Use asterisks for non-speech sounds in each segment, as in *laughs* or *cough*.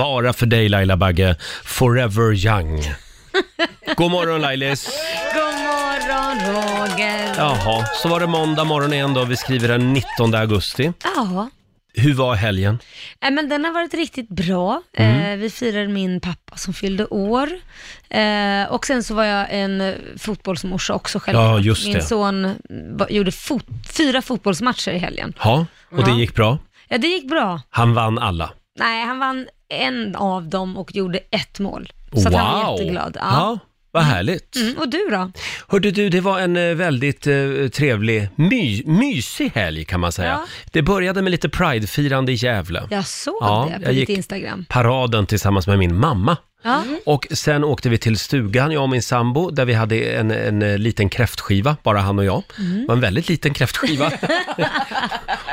bara för dig Laila Bagge, forever *laughs* young. God morgon Lailis! God morgon Roger! Jaha, så var det måndag morgon igen då. Vi skriver den 19 augusti. Ja. Hur var helgen? Nej, men den har varit riktigt bra. Mm. Eh, vi firade min pappa som fyllde år. Eh, och sen så var jag en eh, fotbollsmorsa också själv. Ja, just min det. son va- gjorde fot fyra fotbollsmatcher i helgen. Ja, och det Ja. gick bra. Ja, det gick bra. Han vann alla. Nej, han vann en av dem och gjorde ett mål. Så att han var jätteglad. Ja. vad härligt. Mm, och du då? Hörde du, det var en eh, väldigt eh, trevlig, my, mysig helg kan man säga. Ja. Det började med lite pridefirande i Gävle. Jag såg Ja, det på jag ditt gick- Instagram. Paraden tillsammans med min mamma. Ja. Och sen åkte vi till stugan, jag och min sambo, där vi hade en, en eh, liten kräftskiva, bara han och jag. Det var en väldigt liten *laughs* kräftskiva.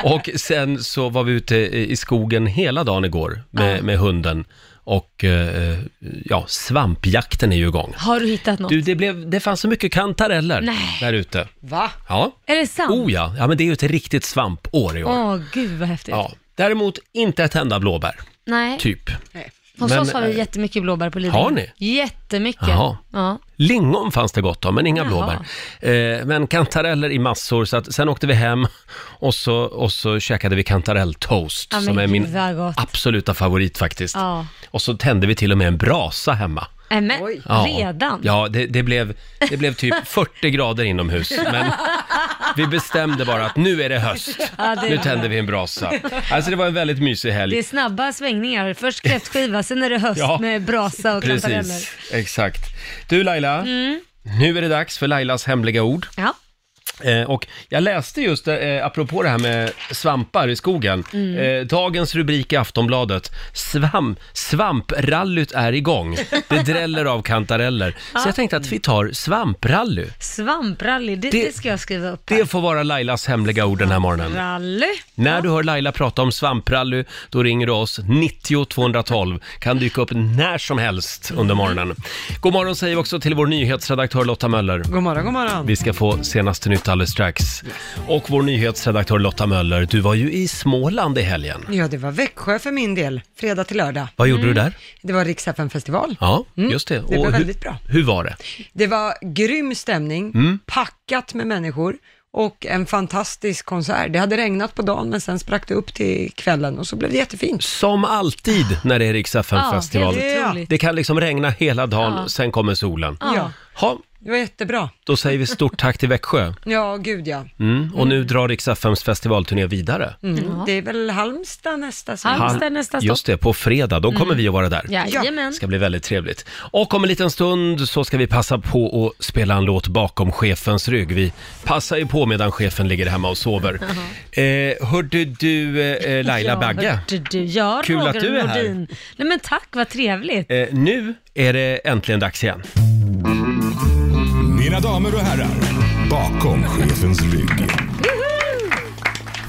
och sen så var vi ute i skogen hela dagen igår med, med hunden. Och eh, ja, svampjakten är ju igång. Har du hittat något? Du, det, blev, det fanns så mycket kantareller Nej. där ute. Va? Ja. Är det sant? Oh ja. ja, men det är ju ett riktigt svampår i år. Åh, gud vad häftigt. Ja. Däremot inte ett enda blåbär, Nej. typ. Nej. Hos Men, oss har vi eh, jättemycket blåbär på Lidingö. har ni? Jättemycket. Jaha. Ja. Lingon fanns det gott om, men inga Jaha. blåbär. Eh, men kantareller i massor, så att sen åkte vi hem och så, och så käkade vi kantarelltoast, Ja, men som är gud, min vad gott. absoluta favorit faktiskt. Ja. Och så tände vi till och med en brasa hemma. Äh, men Oj. Ja. redan? Ja, det, det, blev, det blev typ *laughs* 40 grader inomhus. Men vi bestämde bara att nu är det höst. *laughs* Ja, det- Nu tänder vi en brasa. Alltså det var en väldigt mysig Det är helg. snabba svängningar. Först kräftskiva, sen är det höst Ja, med brasa och kantareller. Mm. Precis, exakt. Du Laila, nu är det dags för Lailas hemliga ord. Ja. Eh, och jag läste just, eh, apropå det här med svampar i skogen, eh, dagens rubrik i Aftonbladet, Svamp, svamprallyt är igång. Det dräller av kantareller. Så jag tänkte att vi tar svamprally. Svamprally, det, Det- det, ska jag skriva upp. här. Det får vara Lailas hemliga ord den här morgonen. Rally. När du hör Laila prata om svamprally, då ringer du oss 90 212. Kan dyka upp när som helst under morgonen. God morgon säger vi också till vår nyhetsredaktör Lotta Möller. God morgon, god morgon. Vi ska få senaste nytt alldeles strax. Och vår nyhetsredaktör Lotta Möller, du var ju i Småland i helgen. Ja, det var Växjö för min del, fredag till lördag. Mm. Vad gjorde du där? Det var riks festival Ja, just det. det var hur, väldigt bra. Hur var det? Det var grym stämning, Mm. packat med människor och en fantastisk konsert. Det hade regnat på dagen, men sen sprack det upp till kvällen och så blev det jättefint. Som alltid när det är riks festival Ja, helt Ja. otroligt. Det kan liksom regna hela dagen, sen kommer solen. Ja. Ja, Ha, det var jättebra. då säger vi stort tack till Växjö. Ja, gud ja. Mm, och nu drar riks festivalturné vidare. Mm. Det är väl Halmstad nästa söndag. Halmstad. Just det, nästa stopp. Mm. Just det, på fredag. Då kommer vi att vara där. Jajamän. Det ska bli väldigt trevligt. Och om en liten stund så ska vi passa på att spela en låt bakom chefens rygg. Vi passar ju på medan chefen ligger hemma och sover. Eh, hörde du eh, Laila Ja, Bagge? hörde Du, ja, Kul Roger att du är här. Nordin. Nej men tack, vad trevligt. Eh, nu är det äntligen dags igen. Mina damer och herrar, bakom chefens rygg.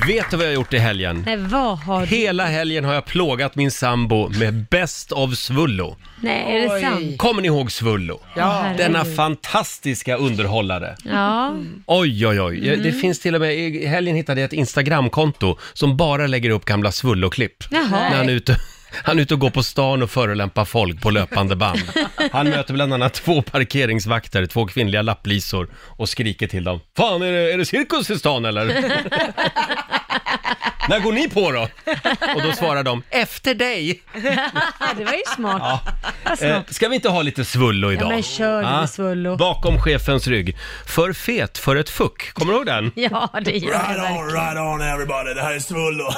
Vet du vad jag har gjort i helgen? Nej, Eh, vad har du? Hela helgen har jag plågat min sambo med Best of Svullo. Nej, är det Oj. sant? Kommer ni ihåg Svullo? Ja, Denna fantastiska underhållare. Ja. Mm. Mm. Oj, oj, oj. Det finns till och med, i helgen hittade jag ett Instagramkonto som bara lägger upp gamla svulloklipp. Jaha. När han är ute, *laughs* han är ute och går på stan och förolämpar folk på löpande band. *laughs* Han möter bland annat två parkeringsvakter, två kvinnliga lapplisor och skriker till dem. Fan, är det, är det cirkus i stan *laughs* eller? när går ni på då? Och då svarar de, efter dig. ja, *laughs* det var ju smart. Ja. Vad Eh, smart. ska vi inte ha lite svullo idag? Alltså. Ah, men kör lite svullo. Bakom chefens rygg. För fet för ett fuck. Kommer du ihåg den? Ja, det gör jag Right verkligen. on, right on everybody. Det här är Svullo.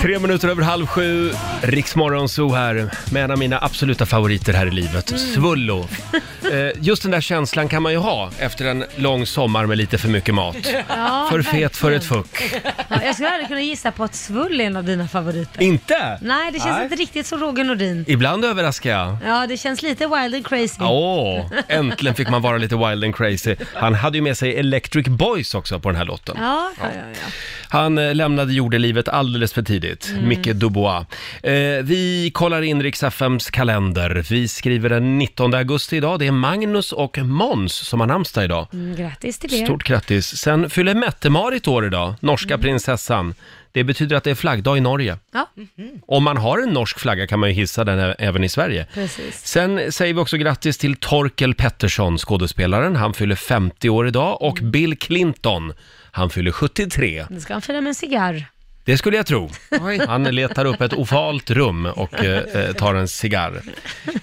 Tre minuter över halv sju, Riksmorgon Zoo här med en av mina absoluta favoriter här i livet, Mm. Svullo. Eh, just den där känslan kan man ju ha efter en lång sommar med lite för mycket mat. Ja, *laughs* för fet för verkligen. ett fuck. Ja, jag skulle aldrig kunna gissa på att svull är en av dina favoriter. Inte? Nej, det känns inte riktigt som Roger Nordin. Ibland överraskar jag. Ja, det känns lite wild and crazy. Åh, äntligen fick man vara lite wild and crazy. Han hade ju med sig Electric Boys också på den här låten. *laughs* Ja, ja, ja, ja. Han eh, lämnade jordelivet alldeles för tidigt. roligt. Mm. Micke Dubois. Eh, vi kollar in Rix FMs kalender. Vi skriver den 19 augusti idag. Det är Magnus och Mons som har namnsdag idag. Mm, grattis till det. Mm. Stort grattis. Sen fyller Mette-Marit år idag, norska prinsessan. Det betyder att det är flaggdag i Norge. Ja, Om man har en norsk flagga kan man ju hissa den ä- även i Sverige. precis. Sen säger vi också grattis till Torkel Pettersson, skådespelaren. Han fyller 50 år idag Mm. och Bill Clinton, han fyller 73. Nu ska han fira med en cigarr. Det skulle jag tro. Oj. *laughs* Han letar upp ett ovalt rum och eh, eh, tar en cigarr.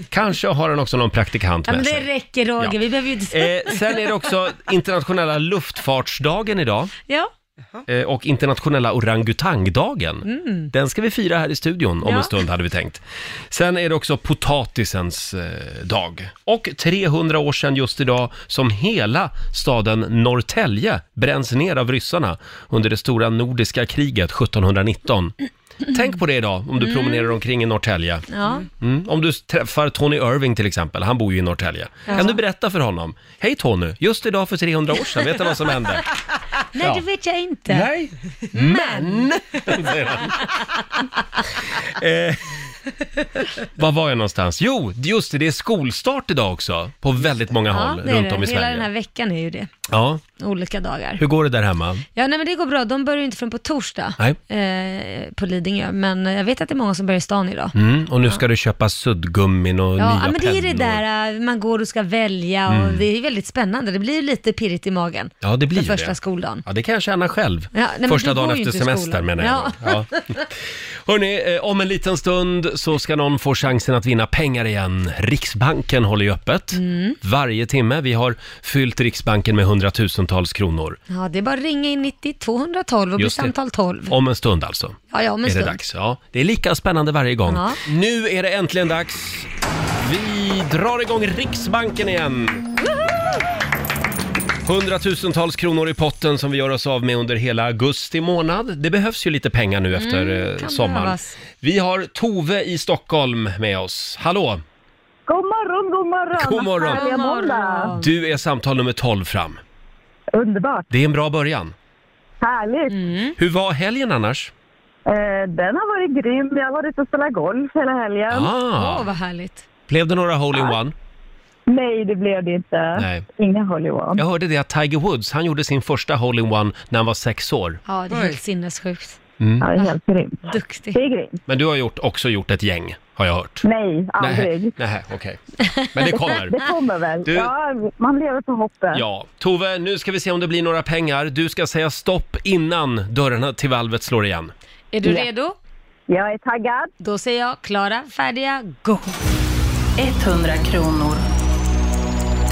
Kanske har han också någon praktikant Ja, men med det sig. räcker Roger, Ja. vi behöver ju inte... Eh, sen är det också internationella luftfartsdagen idag *laughs* Ja, eh, och internationella orangutangdagen. Den ska vi fira här i studion om Mm. Ja. en stund hade vi tänkt. Sen är det också potatisens eh, dag. Och 300 år sedan just idag som hela staden Norrtälje bränns ner av ryssarna under det stora nordiska kriget 1719. Tänk på det idag om du promenerar omkring i Norrtälje. Mm. ja. Mm. Om du träffar Tony Irving till exempel, han bor ju i Norrtälje. Kan du berätta för honom? Hej Tony, just idag för 300 år sedan, vet du vad som hände? Nej, Ja. det vet jag inte. Nej, *laughs* men... säger han. eh, var var jag någonstans? Jo, just det, det är skolstart idag också på väldigt många håll ja, det är runt det. om i Hela Sverige. den här veckan är ju det. Ja, Olika dagar. hur går det där hemma? Ja, nej men det går bra. De börjar ju inte förrän på torsdag Nej. eh, på Lidingö, men jag vet att det är många som börjar i stan idag. Mm, och nu ska du köpa suddgummin och Ja, nya ja, men det är ju det pennor. Mm. där eh, man går och ska välja och det är ju väldigt spännande. Det blir ju lite pirrigt i magen Ja, det blir den första det. skoldagen. Ja, det kan jag känna själv. Ja, nej, men Första du går dagen ju efter inte i semester skolan. menar jag. Ja. Hörrni, eh, om en liten stund så ska någon få chansen att vinna pengar igen. Riksbanken håller ju öppet varje timme. Vi har fyllt Riksbanken med hundratusentals kronor. *laughs* Ja, det är bara att ringa in 90 212 och bli Just det. samtal 12. Om en stund alltså. Ja, ja, om är en det stund. dags. Ja, det är lika spännande varje gång. Ja. Nu är det äntligen dags. Vi drar igång Riksbanken igen. Hundratusentals kronor i potten som vi gör oss av med under hela augusti månad. Det behövs ju lite pengar nu efter eh, Mm, kan sommaren. behövas. Vi har Tove i Stockholm med oss. Hallå! God morgon, god morgon! God morgon. Härliga God morgon. måndag! Du är samtal nummer 12 fram. Underbart, Det är en bra början. härligt! Mm. Hur var helgen annars? Eh, den har varit grym. Jag har varit och spelat golf hela helgen. Åh, Ah, vad härligt. blev det några hole-in-one? Nej, det blev det inte. Nej. Inga håll i Jag hörde det att Tiger Woods, han gjorde sin första hole-in-one när han var sex år. Ja, det är Oj. helt sinnessjukt. Ja, det är helt grymt. Duktig. Det är grymt. Men du har gjort, också gjort ett gäng, har jag hört. Nej, aldrig. Nej, nej, okej. Men det *laughs* kommer. Det kommer väl. Du- Ja, man lever på hoppet. Ja, Tove, nu ska vi se om det blir några pengar. Du ska säga stopp innan dörrarna till valvet slår igen. Är du Ja. redo? Jag är taggad. Då säger jag klara, färdiga, go! 100 kronor.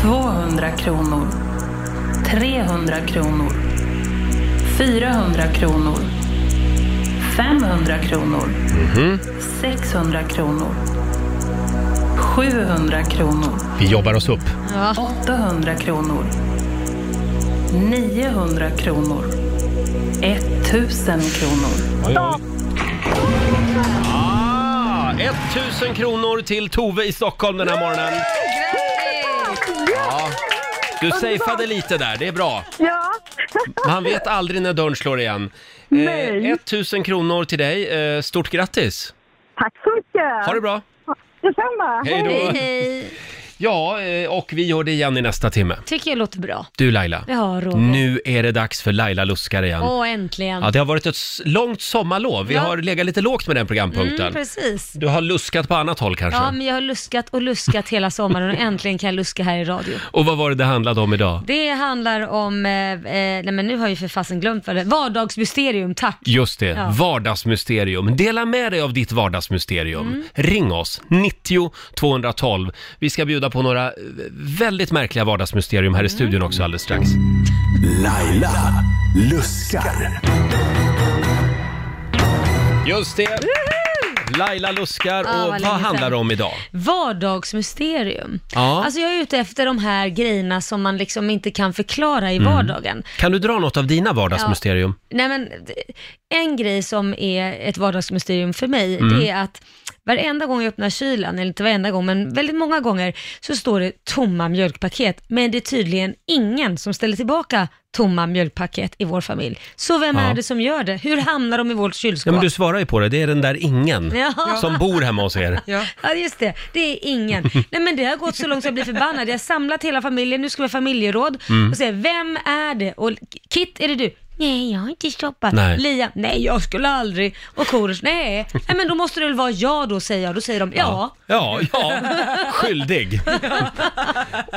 200 kronor. 300 kronor. 400 kronor. 500 kronor. Mhm. 600 kronor. 700 kronor. Vi jobbar oss upp. 800 kronor. 900 kronor. 1000 kronor. Ah, 1000 kronor till Tove i Stockholm den här morgonen. Ja, du safeade lite där, det är bra. Ja, Man vet aldrig när dörren slår igen. Eh, 1000 kronor till dig. Eh, stort grattis! tack så mycket. Ha det bra! Detsamma. Hej då! Hej, hej! Ja, eh, och vi gör det igen i nästa timme. Tycker jag låter bra. Du Laila, Ja, Roger. nu är det dags för Laila luskar igen. Åh, äntligen. Mm. Ja, det har varit ett s- långt sommarlov. Vi Ja. har legat lite lågt med den programpunkten. mm, precis. du har luskat på annat håll kanske. Ja, men jag har luskat och luskat hela sommaren och äntligen kan jag luska här i radio. Och vad var det det handlade om idag? Det handlar om, eh, eh, nej men nu har jag ju för fasen glömt vad det vardagsmysterium, tack. Just det, Ja. vardagsmysterium. Dela med dig av ditt vardagsmysterium. Mm. Ring oss, 90 212. Vi ska bjuda på några eh, väldigt märkliga vardagsmysterium här i Mm. studion också alldeles strax. Laila luskar. Just det! Laila luskar Ah, och vad vad länge sedan. handlar det om idag? Vardagsmysterium. Ja. Alltså jag är ute efter de här grejerna som man Mm. liksom inte kan förklara i vardagen. Kan du dra något av dina vardagsmysterium? Nej men, d- en grej som är ett vardagsmysterium för mig, Mm. det är att varenda gång jag öppnar kylen, eller inte varenda gång, men väldigt många gånger, så står det tomma mjölkpaket. Men det är tydligen ingen som ställer tillbaka tomma mjölkpaket i vår familj. Så vem Ja. är det som gör det? Hur hamnar de i vårt Ja, kylskåp? men du svarar ju på det. Det är den där ingen Ja. som bor hemma hos *laughs* er. Ja. Ja just det, det är ingen. Nej men det har gått så långt så jag blir förbannad. Jag har samlat hela familjen, nu ska vi ha familjeråd och säger vem är det? Och Kit, är det du? Nej, jag har inte shoppat. Nej. Lia, nej jag skulle aldrig. Och Korosh, nej. nej men då måste det väl vara jag då säger jag. Då säger de ja. Ja, ja. Skyldig.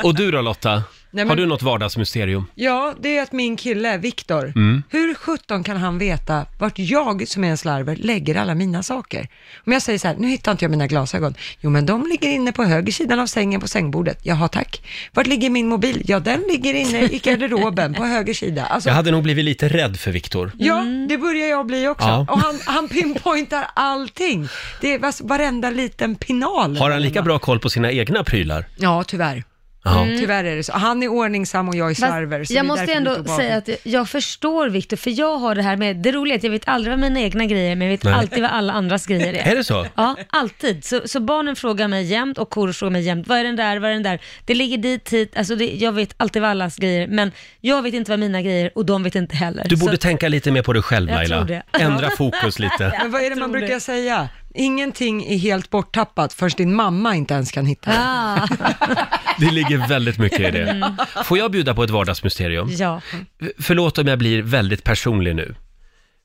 Och du då Lotta? men- Har du något vardagsmysterium? Mm. Ja, det är att min kille, Viktor, hur sjutton kan han veta vart jag som är en slarver lägger alla mina saker? Om jag säger så här, nu hittar inte jag mina glasögon. Jo, men de ligger inne på höger sidan av sängen på sängbordet. Jaha, tack. Vart ligger min mobil? Ja, den ligger inne i garderoben på höger sida. Alltså, Jag hade nog blivit lite rädd för Viktor. Ja, Mm. det börjar jag bli också. Ja. Och han, han pinpointar allting. Det är alltså varenda liten pinal. Har han lika bra koll på sina egna prylar? Ja, tyvärr. Ja. Tyvärr är det så. Han är ordningsam och jag är Fast slarver. så det är jag måste därför det är ändå lite säga obehagligt. att jag- jag förstår Viktor, för jag har det här med, det roliga är att jag vet aldrig vad mina egna grejer är, men jag vet Nej. alltid vad alla andras grejer *laughs* är. Är det så? Ja, alltid. Så, så barnen frågar mig jämt och Korosh frågar mig jämt, vad är den där, vad är den där? Det ligger dit, hit, alltså det, jag vet alltid vad allas grejer, men jag vet inte vad mina grejer och de vet inte heller. Du borde så, tänka lite mer på dig själv Jag Laila. tror det. Ändra fokus lite. Men vad är det Jag man tror brukar det. säga? Ingenting är helt borttappat förrän din mamma inte ens kan hitta det. ah, Det ligger väldigt mycket i det. Får jag bjuda på ett vardagsmysterium? ja. förlåt om jag blir väldigt personlig nu,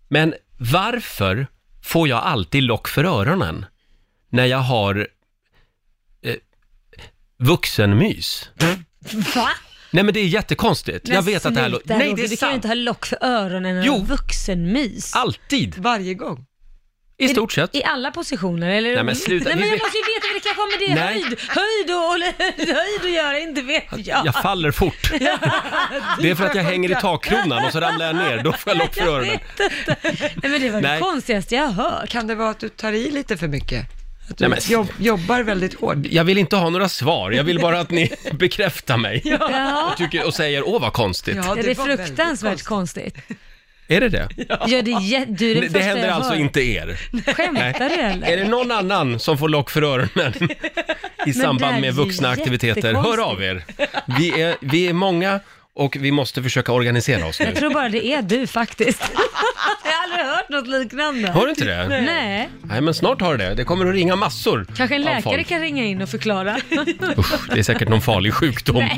men varför får jag alltid lock för öronen när jag har eh, vuxenmys? Va? Nej men det är jättekonstigt. jag vet att det här lå- Nej, det är Du kan sant. ju inte ha lock för öronen när Jo. jo. vuxenmys. Alltid, Varje gång. i stort sett. I alla positioner, eller? Nej, men sluta. Nej, men Vi jag vet- måste ju veta vad det kanske har med det Nej. höjd, höjd och, *laughs* höjd att göra, inte vet jag. Jag faller *laughs* fort. Det är för att jag hänger i takkronan och så ramlar jag ner, då får jag lock för Jag öronen. vet inte. Nej, men det var Nej. det konstigaste jag har hört. Kan det vara att du tar i lite för mycket? Att Nej, du men- jobb, jobbar väldigt hårt? Jag vill inte ha några svar, jag vill bara att ni *laughs* bekräftar mig. Ja. Och, tycker, och säger, åh vad konstigt. Ja, det är var väldigt fruktansvärt konstigt. Är det det? Ja, det är jä- du är Det, den första det händer jag alltså hör. inte er? Skämtar du eller? Är det någon annan som får lock för öronen *laughs* i samband där är med ju vuxna aktiviteter, hör av er. Vi är, vi är många och vi måste försöka organisera oss nu. Jag tror bara det är du faktiskt. *laughs* jag har aldrig hört något liknande. Hör du inte det? Nej. Nej, men snart har du det. Det kommer att ringa massor kanske en av läkare folk. kan ringa in och förklara. Usch, det är säkert någon farlig sjukdom.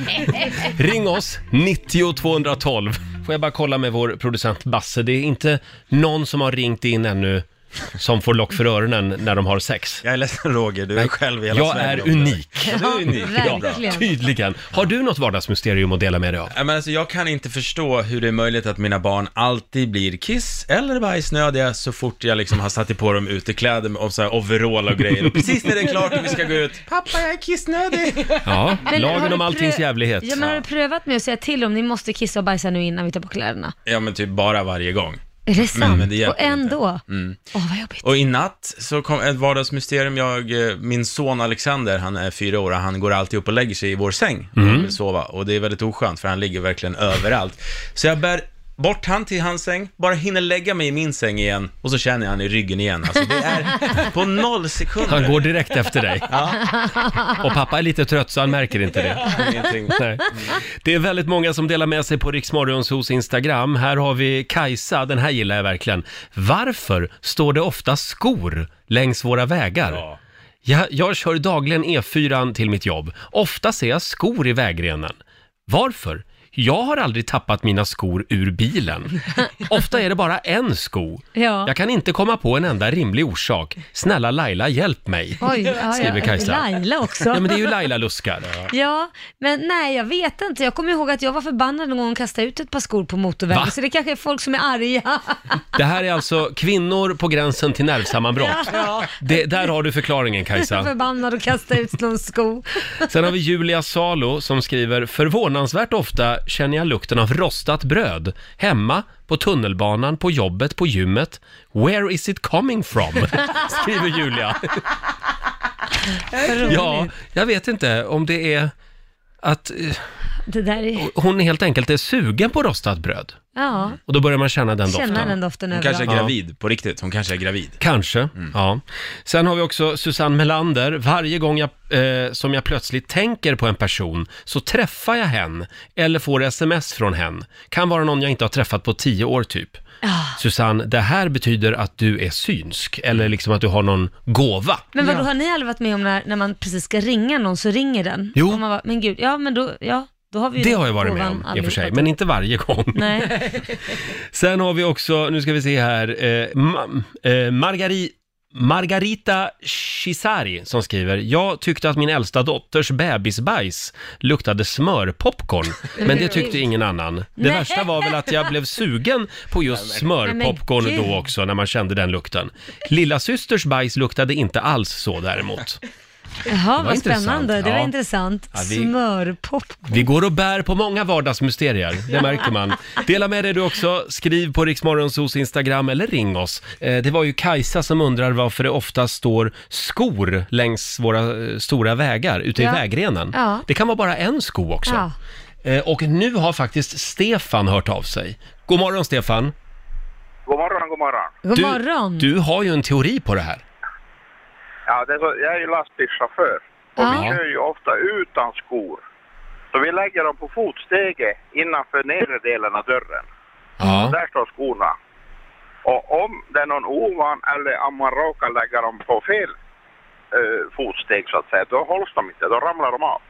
Ring oss, 90 212. Får jag bara kolla med vår producent Basse, det är inte någon som har ringt in ännu som får lock för öronen när de har sex. Jag är ledsen Roger, du är själv i hela Jag Sverige är om det. unik. Du är unik. Verkligen. Tydligen. Har du något vardagsmysterium att dela med dig av? Ja, men alltså, jag kan inte förstå hur det är möjligt att mina barn alltid blir kiss eller bajsnödiga så fort jag liksom har satt på dem utekläder med- och så här overall och grejer. Och precis när det är klart och vi ska gå ut, pappa jag är kissnödig. Ja, Men har lagen du om alltings prö- jävlighet. Ja, men har du prövat med att säga till om ni måste kissa och bajsa nu innan vi tar på kläderna? Ja men typ bara varje gång. Mm. Är det Mm, sant? men det hjälper och ändå? Åh, vad jobbigt. Och i natt så kom ett vardagsmysterium, jag, eh, min son Alexander, han är fyra år och han går alltid upp och lägger sig i vår säng när Mm. han vill sova. Och det är väldigt oskönt för han ligger verkligen överallt. Så jag bär bort han till hans säng, bara hinner lägga mig i min säng igen och så känner jag han i ryggen igen. Alltså det är på noll sekunder. Han går direkt efter dig. Och pappa är lite trött så han märker *laughs* inte det. Ingenting. *laughs* Nej. Det är väldigt många som delar med sig på Riksmorgonsos Instagram. Här har vi Kajsa, den här gillar jag verkligen. Varför står det ofta skor längs våra vägar? Ja. Jag, jag kör dagligen E4 till mitt jobb. Ofta ser jag skor i vägrenen. Varför? Jag har aldrig tappat mina skor *laughs* ur bilen. Ofta är det bara en sko. Ja. Jag kan inte komma på en enda rimlig orsak. Snälla Laila, hjälp mig. Oj, ja, skriver ja. Kajsa. Laila också. Ja, men det är ju Laila Luskar. Ja, men nej jag vet inte. Jag kommer ihåg att jag var förbannad någon gång och kastade ut ett par skor på motorvägen. Va? Så det kanske är folk som är arga. Det här är alltså kvinnor på gränsen till nervsammanbrott. Det, där har du förklaringen Jag var Kajsa. *laughs* förbannad och kastade ut någon sko. Sen har vi Julia Salo som skriver “Förvånansvärt ofta känner jag lukten av rostat bröd. Hemma, på tunnelbanan, på jobbet, på gymmet. Where is it coming *laughs* from?” skriver Julia. Ja, jag vet inte om det är att eh, Det där är... hon helt enkelt är sugen på rostat bröd. Ja, Och då börjar man känna den doften. känna den doften Hon kanske är överallt. gravid på riktigt. Hon kanske är gravid. Mm. Kanske, ja. Sen har vi också Susanne Melander. Varje gång jag, eh, som jag plötsligt tänker på en person så träffar jag hen eller får sms från hen. Kan vara någon jag inte har träffat på tio år typ. Susanne, det här betyder att du är synsk eller liksom att du har någon gåva. Men vadå, har ni aldrig varit med om när, när man precis ska ringa någon så ringer den? Jo. Och man bara, men gud, ja men då, ja, då har vi ju Det har jag varit med ovan om i och för allihopa. sig, men inte varje gång. Nej, *laughs* Sen har vi också, nu ska vi se här, eh, ma- eh, Margari, Margarita Chisari som skriver, jag tyckte att min äldsta dotters bebisbajs luktade smörpopcorn, men det tyckte ingen annan. Det Nej. värsta var väl att jag blev sugen på just Nej, smörpopcorn men då gud. också, när man kände den lukten. Lilla systers bajs luktade inte alls så däremot. jaha vad intressant. spännande, det var Ja. intressant. Ja, vi- Smörpop. Vi går och bär på många vardagsmysterier, det märker man. Dela med dig du också, skriv på Riksmorgonsos Instagram eller ring oss. Eh, Det var ju Kajsa som undrar varför det ofta står skor längs våra eh, stora vägar ute Ja. i vägrenen. Ja. Det kan vara bara en sko också. Ja. Eh, Och nu har faktiskt Stefan hört av sig. God morgon Stefan! God morgon, god morgon. God Du, morgon. du har ju en teori på det här. Ja, det är så, jag är ju lastbilschaufför och Ja. vi kör ju ofta utan skor. Så vi lägger dem på fotsteget innanför nedre delen av dörren. Ja. Där står skorna. Och om det är någon ovan eller om man råkar lägga dem på fel eh, fotsteg så att säga, då hålls de inte, då ramlar de av.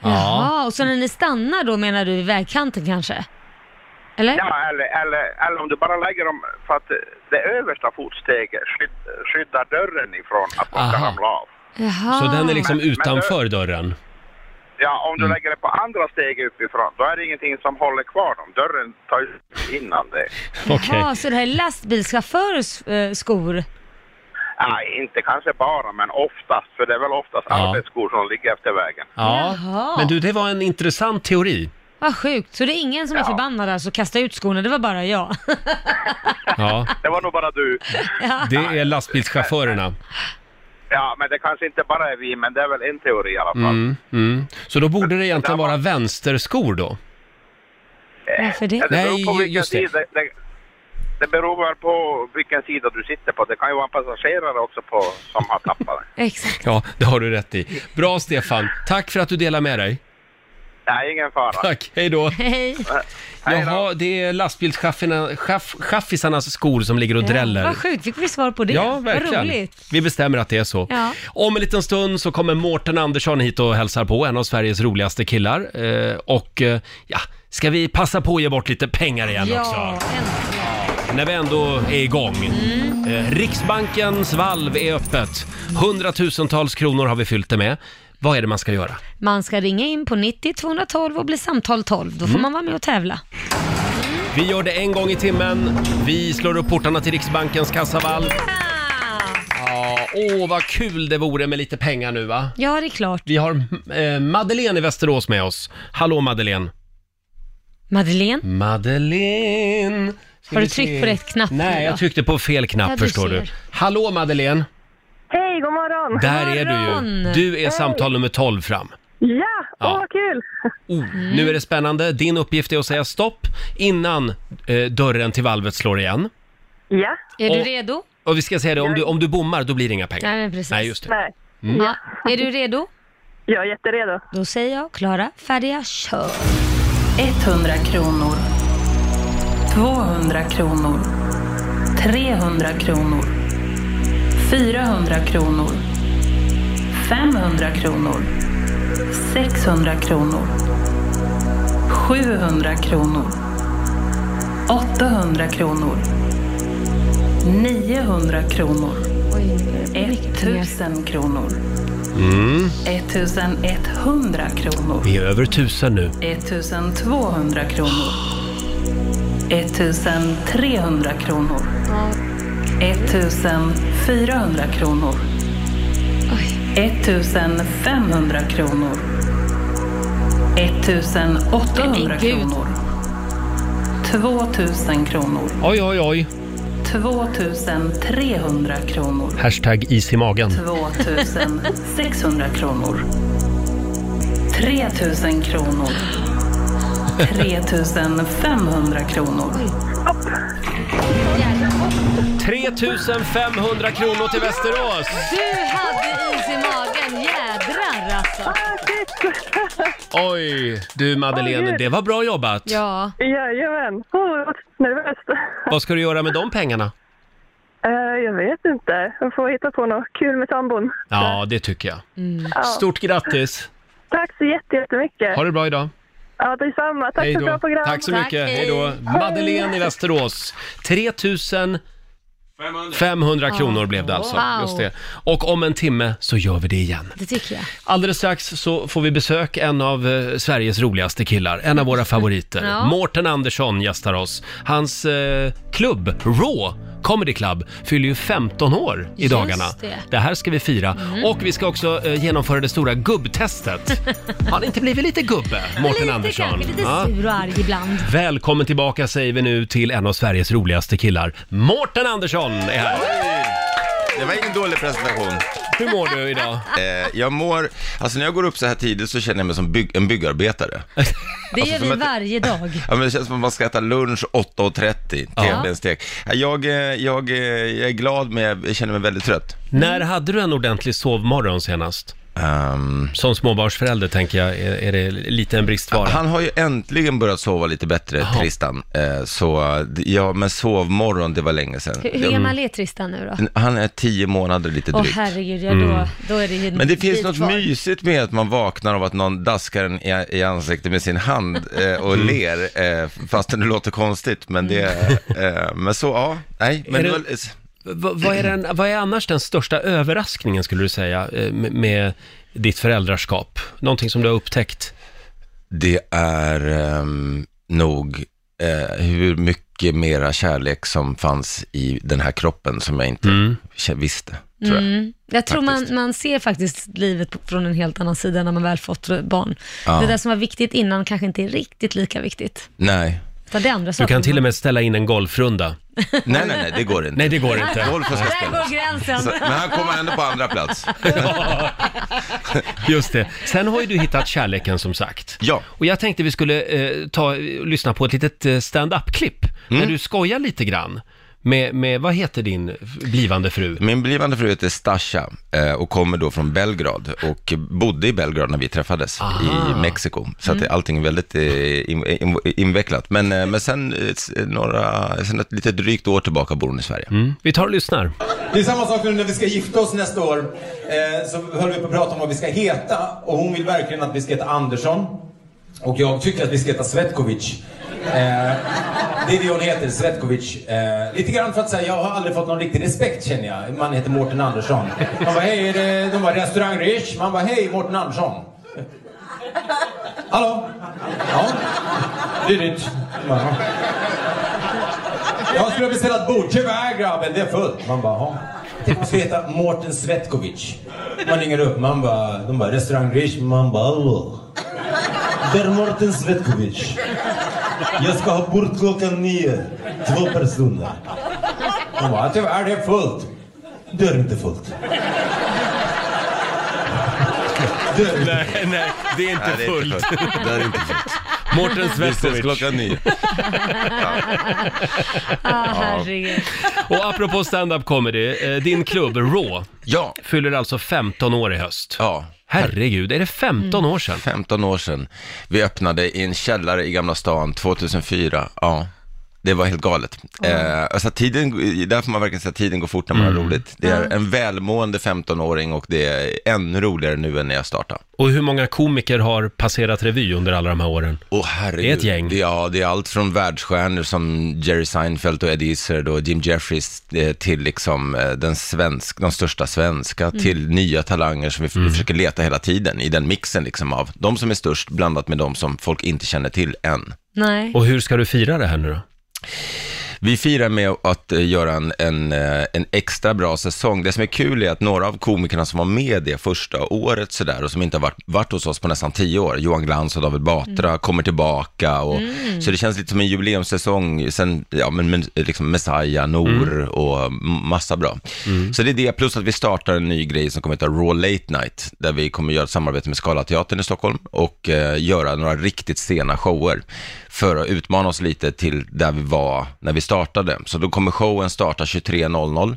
Jaha, och så när ni stannar då menar du i vägkanten kanske? Eller? Ja, eller, eller, eller om du bara lägger dem för att eh, det översta fotsteget skydd, skyddar dörren ifrån att man ska Aha. ramla av. Jaha. Så den är liksom Men- men utanför dörren. Ja, om du Mm. lägger det på andra steg uppifrån, då är det ingenting som håller kvar dem. Dörren tar ju innan det. Okej. Jaha, så det här är lastbilschaufförers eh, skor? Nej, inte kanske bara, men oftast. För det är väl oftast Ja. arbetsskor som ligger efter vägen. Ja. Jaha. Men du, det var en intressant teori. Vad sjukt, så det är ingen som är Ja. förbannad alltså och kastar ut skorna, det var bara jag. Ja. Det var nog bara du. Det är lastbilschaufförerna. Ja, men det kanske inte bara är vi, men det är väl en teori i alla fall. Mm, mm. Så då borde det egentligen vara vänsterskor då? Varför det? Eller beror Nej, på vilken just det. Sida, det, det beror väl på vilken sida du sitter på. Det kan ju vara en passagerare också på, som har tappat det. Exakt. Ja, det har du rätt i. Bra Stefan, tack för att du delar med dig. Nej, ingen fara. Tack, hej då. Hej. Hej då. Jaha, det är lastbilschaffisarnas skor som ligger och dräller. *laughs* Vad sjukt, fick vi svar på det? Ja, Vad verkligen. roligt. Vi bestämmer att det är så. Ja. Om en liten stund så kommer Mårten Andersson hit och hälsar på, en av Sveriges roligaste killar. Eh, och eh, ja, ska vi passa på att ge bort lite pengar igen också? Ja, äntligen. när vi ändå är igång. Mm. Eh, Riksbankens valv är öppet. Hundratusentals kronor har vi fyllt det med. Vad är det man ska göra? Man ska ringa in på 90 212 och bli samtal 12. Då får Mm. man vara med och tävla. Vi gör det en gång i timmen. Vi slår upp portarna till Riksbankens kassavalv. Ja, åh, vad kul det vore med lite pengar nu va? Ja, det är klart. Vi har eh, Madeleine i Västerås med oss. Hallå Madeleine. Madeleine? Madeleine. Ska Har du vi se. tryckt på rätt knapp nu Nej, då? jag tryckte på fel knapp Ja, du förstår ser. du. Hallå Madeleine. Hej, god morgon! Där är du ju. morgon. Du är samtal nummer 12 fram. Ja, Ja. åh vad kul! Oh, Nu är det spännande. Din uppgift är att säga stopp innan eh, dörren till valvet slår igen. Ja, Är du Och- redo? Och vi ska säga det, om du, om du bommar då blir det inga pengar. Nej, men precis. Nej, just det. nej, Ja. Är du redo? jag är jätteredo. Då säger jag klara, färdiga, kör. 100 kronor. 200 kronor. 300 kronor. 400 kronor. 500 kronor. 600 kronor. 700 kronor. 800 kronor. 900 kronor. Oj, nu är det mycket pengar. 1000 kronor. 1100 kronor. Mm. Vi är över tusen nu. 1200 kronor. 1300 kronor. 1400 kronor. 1500 kronor. 1800 Men gud. kronor. 2000 kronor. Oj, oj, oj. 2300 kronor. Hashtag is i magen. 2600 kronor. 3000 kronor. 3500 kronor. 3 500 kronor till Västerås! Du hade is i magen, jädrar Ah, alltså. Oj, du Madeleine, det var bra jobbat. Ja, Jajamän. Åh, oh, vad nervöst. Vad ska du göra med de pengarna? Eh, jag vet inte. Jag får hitta på något kul med sambon. Ja, det tycker jag. Mm. Stort grattis! Tack så jätte- jättemycket. Ha det bra idag. Ja, detsamma. Tack Hej för ett bra då. program. Tack så mycket. Tack, Hej då. hej. Madeleine i Västerås. 3 500 kronor blev det alltså. Ah. Wow. Just det. Och om en timme så gör vi det igen. det tycker jag. Alldeles strax så får vi besök en av eh, Sveriges roligaste killar, en av våra favoriter. *laughs* Ja. Mårten Andersson gästar oss. Hans eh, klubb, Raw Comedy Club, fyller ju 15 år i Just dagarna. det. Mm. här ska vi fira. Och vi ska också eh, genomföra det stora *laughs* gubbtestet. Har det inte blivit lite gubbe, Mårten lite Andersson? kanske, lite Ja. sur och arg ibland. Välkommen tillbaka säger vi nu till en av Sveriges roligaste killar. Mårten Andersson är här. Det var ingen dålig presentation. Hur mår du idag? Eh, jag mår, alltså när jag går upp så här tidigt så känner jag mig som bygg, en *laughs* byggarbetare. Det gör Alltså, vi som att- varje dag. Ja, men det känns som att man ska äta lunch 8.30, tebenstek. Ja. Jag, eh, jag, eh, jag är glad men jag känner mig väldigt trött. När hade du en ordentlig sovmorgon senast? Ehm, Som småbarnsförälder tänker jag är, är det lite en bristvara. han har ju äntligen börjat sova lite bättre, Tristan. Eh, så, d- ja, men sovmorgon, det var länge sedan. Hur, hur gammal är Tristan nu då? Han är tio månader lite Åh Mm. drygt. herregud, ja, då, då är det ju Men det en finns bit något kvar. mysigt med att man vaknar av att någon daskar en i, i ansiktet med sin hand eh, och ler, eh, fastän det låter konstigt. Men, det, eh, men så, ja. Nej, men Är det... det- var, s- V- vad, är den, vad är annars den största överraskningen skulle du säga eh, med, med ditt föräldraskap? Någonting som du har upptäckt? det är ehm, nog eh, hur mycket mera kärlek som fanns i den här kroppen som jag inte kä- visste, tror jag. Mm. Jag tror man, Faktiskt. man ser faktiskt livet på- från en helt annan sida när man väl fått barn. Ja. Det där som var viktigt innan kanske inte är riktigt lika viktigt. Nej. Utan det är andra Du saker. kan till och med ställa in en golfrunda. nej, nej, nej, det går inte. Nej, det går inte. Golf ska Där spelas. går gränsen. Så- Men han kommer ändå på andra *laughs* plats. Just det. Sen har ju du hittat kärleken som sagt. Ja. Och jag tänkte vi skulle eh, ta, lyssna på ett litet eh, stand-up-klipp när Mm. du skojar lite grann med, med, vad heter din f- blivande fru? Min blivande fru heter Stasha eh, och kommer då från Belgrad och bodde i Belgrad när vi träffades i Mexiko. Så att det- allting är väldigt eh, in, in, invecklat. Men, eh, men sen, eh, s- några, sen ett lite drygt år tillbaka bor hon i Sverige. Vi tar och lyssnar. Det är samma sak nu när vi ska gifta oss nästa år. Eh, så höll vi på att prata om vad vi ska heta. Och hon vill verkligen att vi ska heta Andersson. Och jag tycker att vi ska heta Svetkovic. Eh, det är det hon heter, Svetkovic. Eh, lite grann för att säga, jag har aldrig fått någon riktig respekt känner jag. Man heter Mårten Andersson. Man bara, hej, är det... De bara, restaurang Rich. Man bara, hej, Mårten Andersson. Hallå? Ja. Det är ditt. Ja. Jag skulle ha beställt bord. Tyvärr grabben, det är fullt. Man bara, jaha. Tänk om man skulle heta Mårten Svetkovic. Man ringer upp, man bara, de bara, restaurang Rich. Man bara, hallå. Det är Mårten Svetkovic. Jag ska ha bord klockan nio. Två personer. Man bara, tyvärr det är fullt. Det är inte fullt. Det är inte Nej, nej, det är inte Nej, det är inte fullt. Det är inte *laughs* fullt. Mårten Vi ses Svetkovic. klockan nio. Ah, herregud. *laughs* Och apropå stand-up comedy, eh, din klubb Raw Ja, fyller alltså 15 år i höst. ja. Herregud, är det 15 år sedan? 15 Mm. år sedan. Vi öppnade i en källare i Gamla stan 2004. Ja. Det var helt galet. Eh, alltså tiden, där får man verkligen säga att tiden går fort när man Mm. har roligt. Det är en välmående 15-åring och det är ännu roligare nu än när jag startade. Och hur många komiker har passerat revy under alla de här åren? Åh herregud. Det är ett gäng. Ja, det är allt från världsstjärnor som Jerry Seinfeld och Eddie Izzard och Jim Jeffries eh, till liksom eh, den svensk, de största svenska, Mm. till nya talanger som vi f- försöker leta hela tiden i den mixen liksom av de som är störst blandat med de som folk inte känner till än. Nej. Och hur ska du fira det här nu då? Vi firar med att eh, göra en, en, eh, en extra bra säsong. Det som är kul är att några av komikerna som var med det första året sådär och som inte har varit, varit hos oss på nästan tio år, Johan Glans och David Batra, kommer tillbaka och Mm. så det känns lite som en jubileumssäsong. Sen, ja men, men liksom Messiah, Nor och m- massa bra. Så det är det, plus att vi startar en ny grej som kommer att heta Raw Late Night, där vi kommer göra ett samarbete med Scalateatern i Stockholm och eh, göra några riktigt sena shower för att utmana oss lite till där vi var när vi startade. Så då kommer showen starta 23.00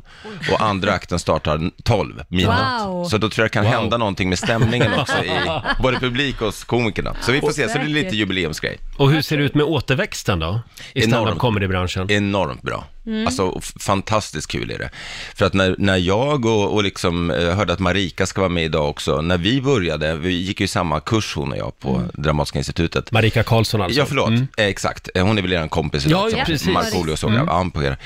och andra akten startar 12, midnatt. Wow. Så då tror jag det kan Wow. hända någonting med stämningen också *laughs* i både publik och hos komikerna. Så vi får se, så det är lite Säkert. jubileumsgrej. Och hur ser det ut med återväxten då? I stand-up comedy-branschen? Enormt bra. Mm. Alltså f- fantastiskt kul är det. För att när, när jag och, och liksom, eh, hörde att Marika ska vara med idag också, när vi började, vi gick ju samma kurs hon och jag på Mm. Dramatiska institutet. Marika Karlsson alltså? Ja, förlåt. Mm. Eh, exakt. Eh, Hon är väl eran kompis Ja, idag, ja, precis. Markoolio såg Mm. jag, han på er.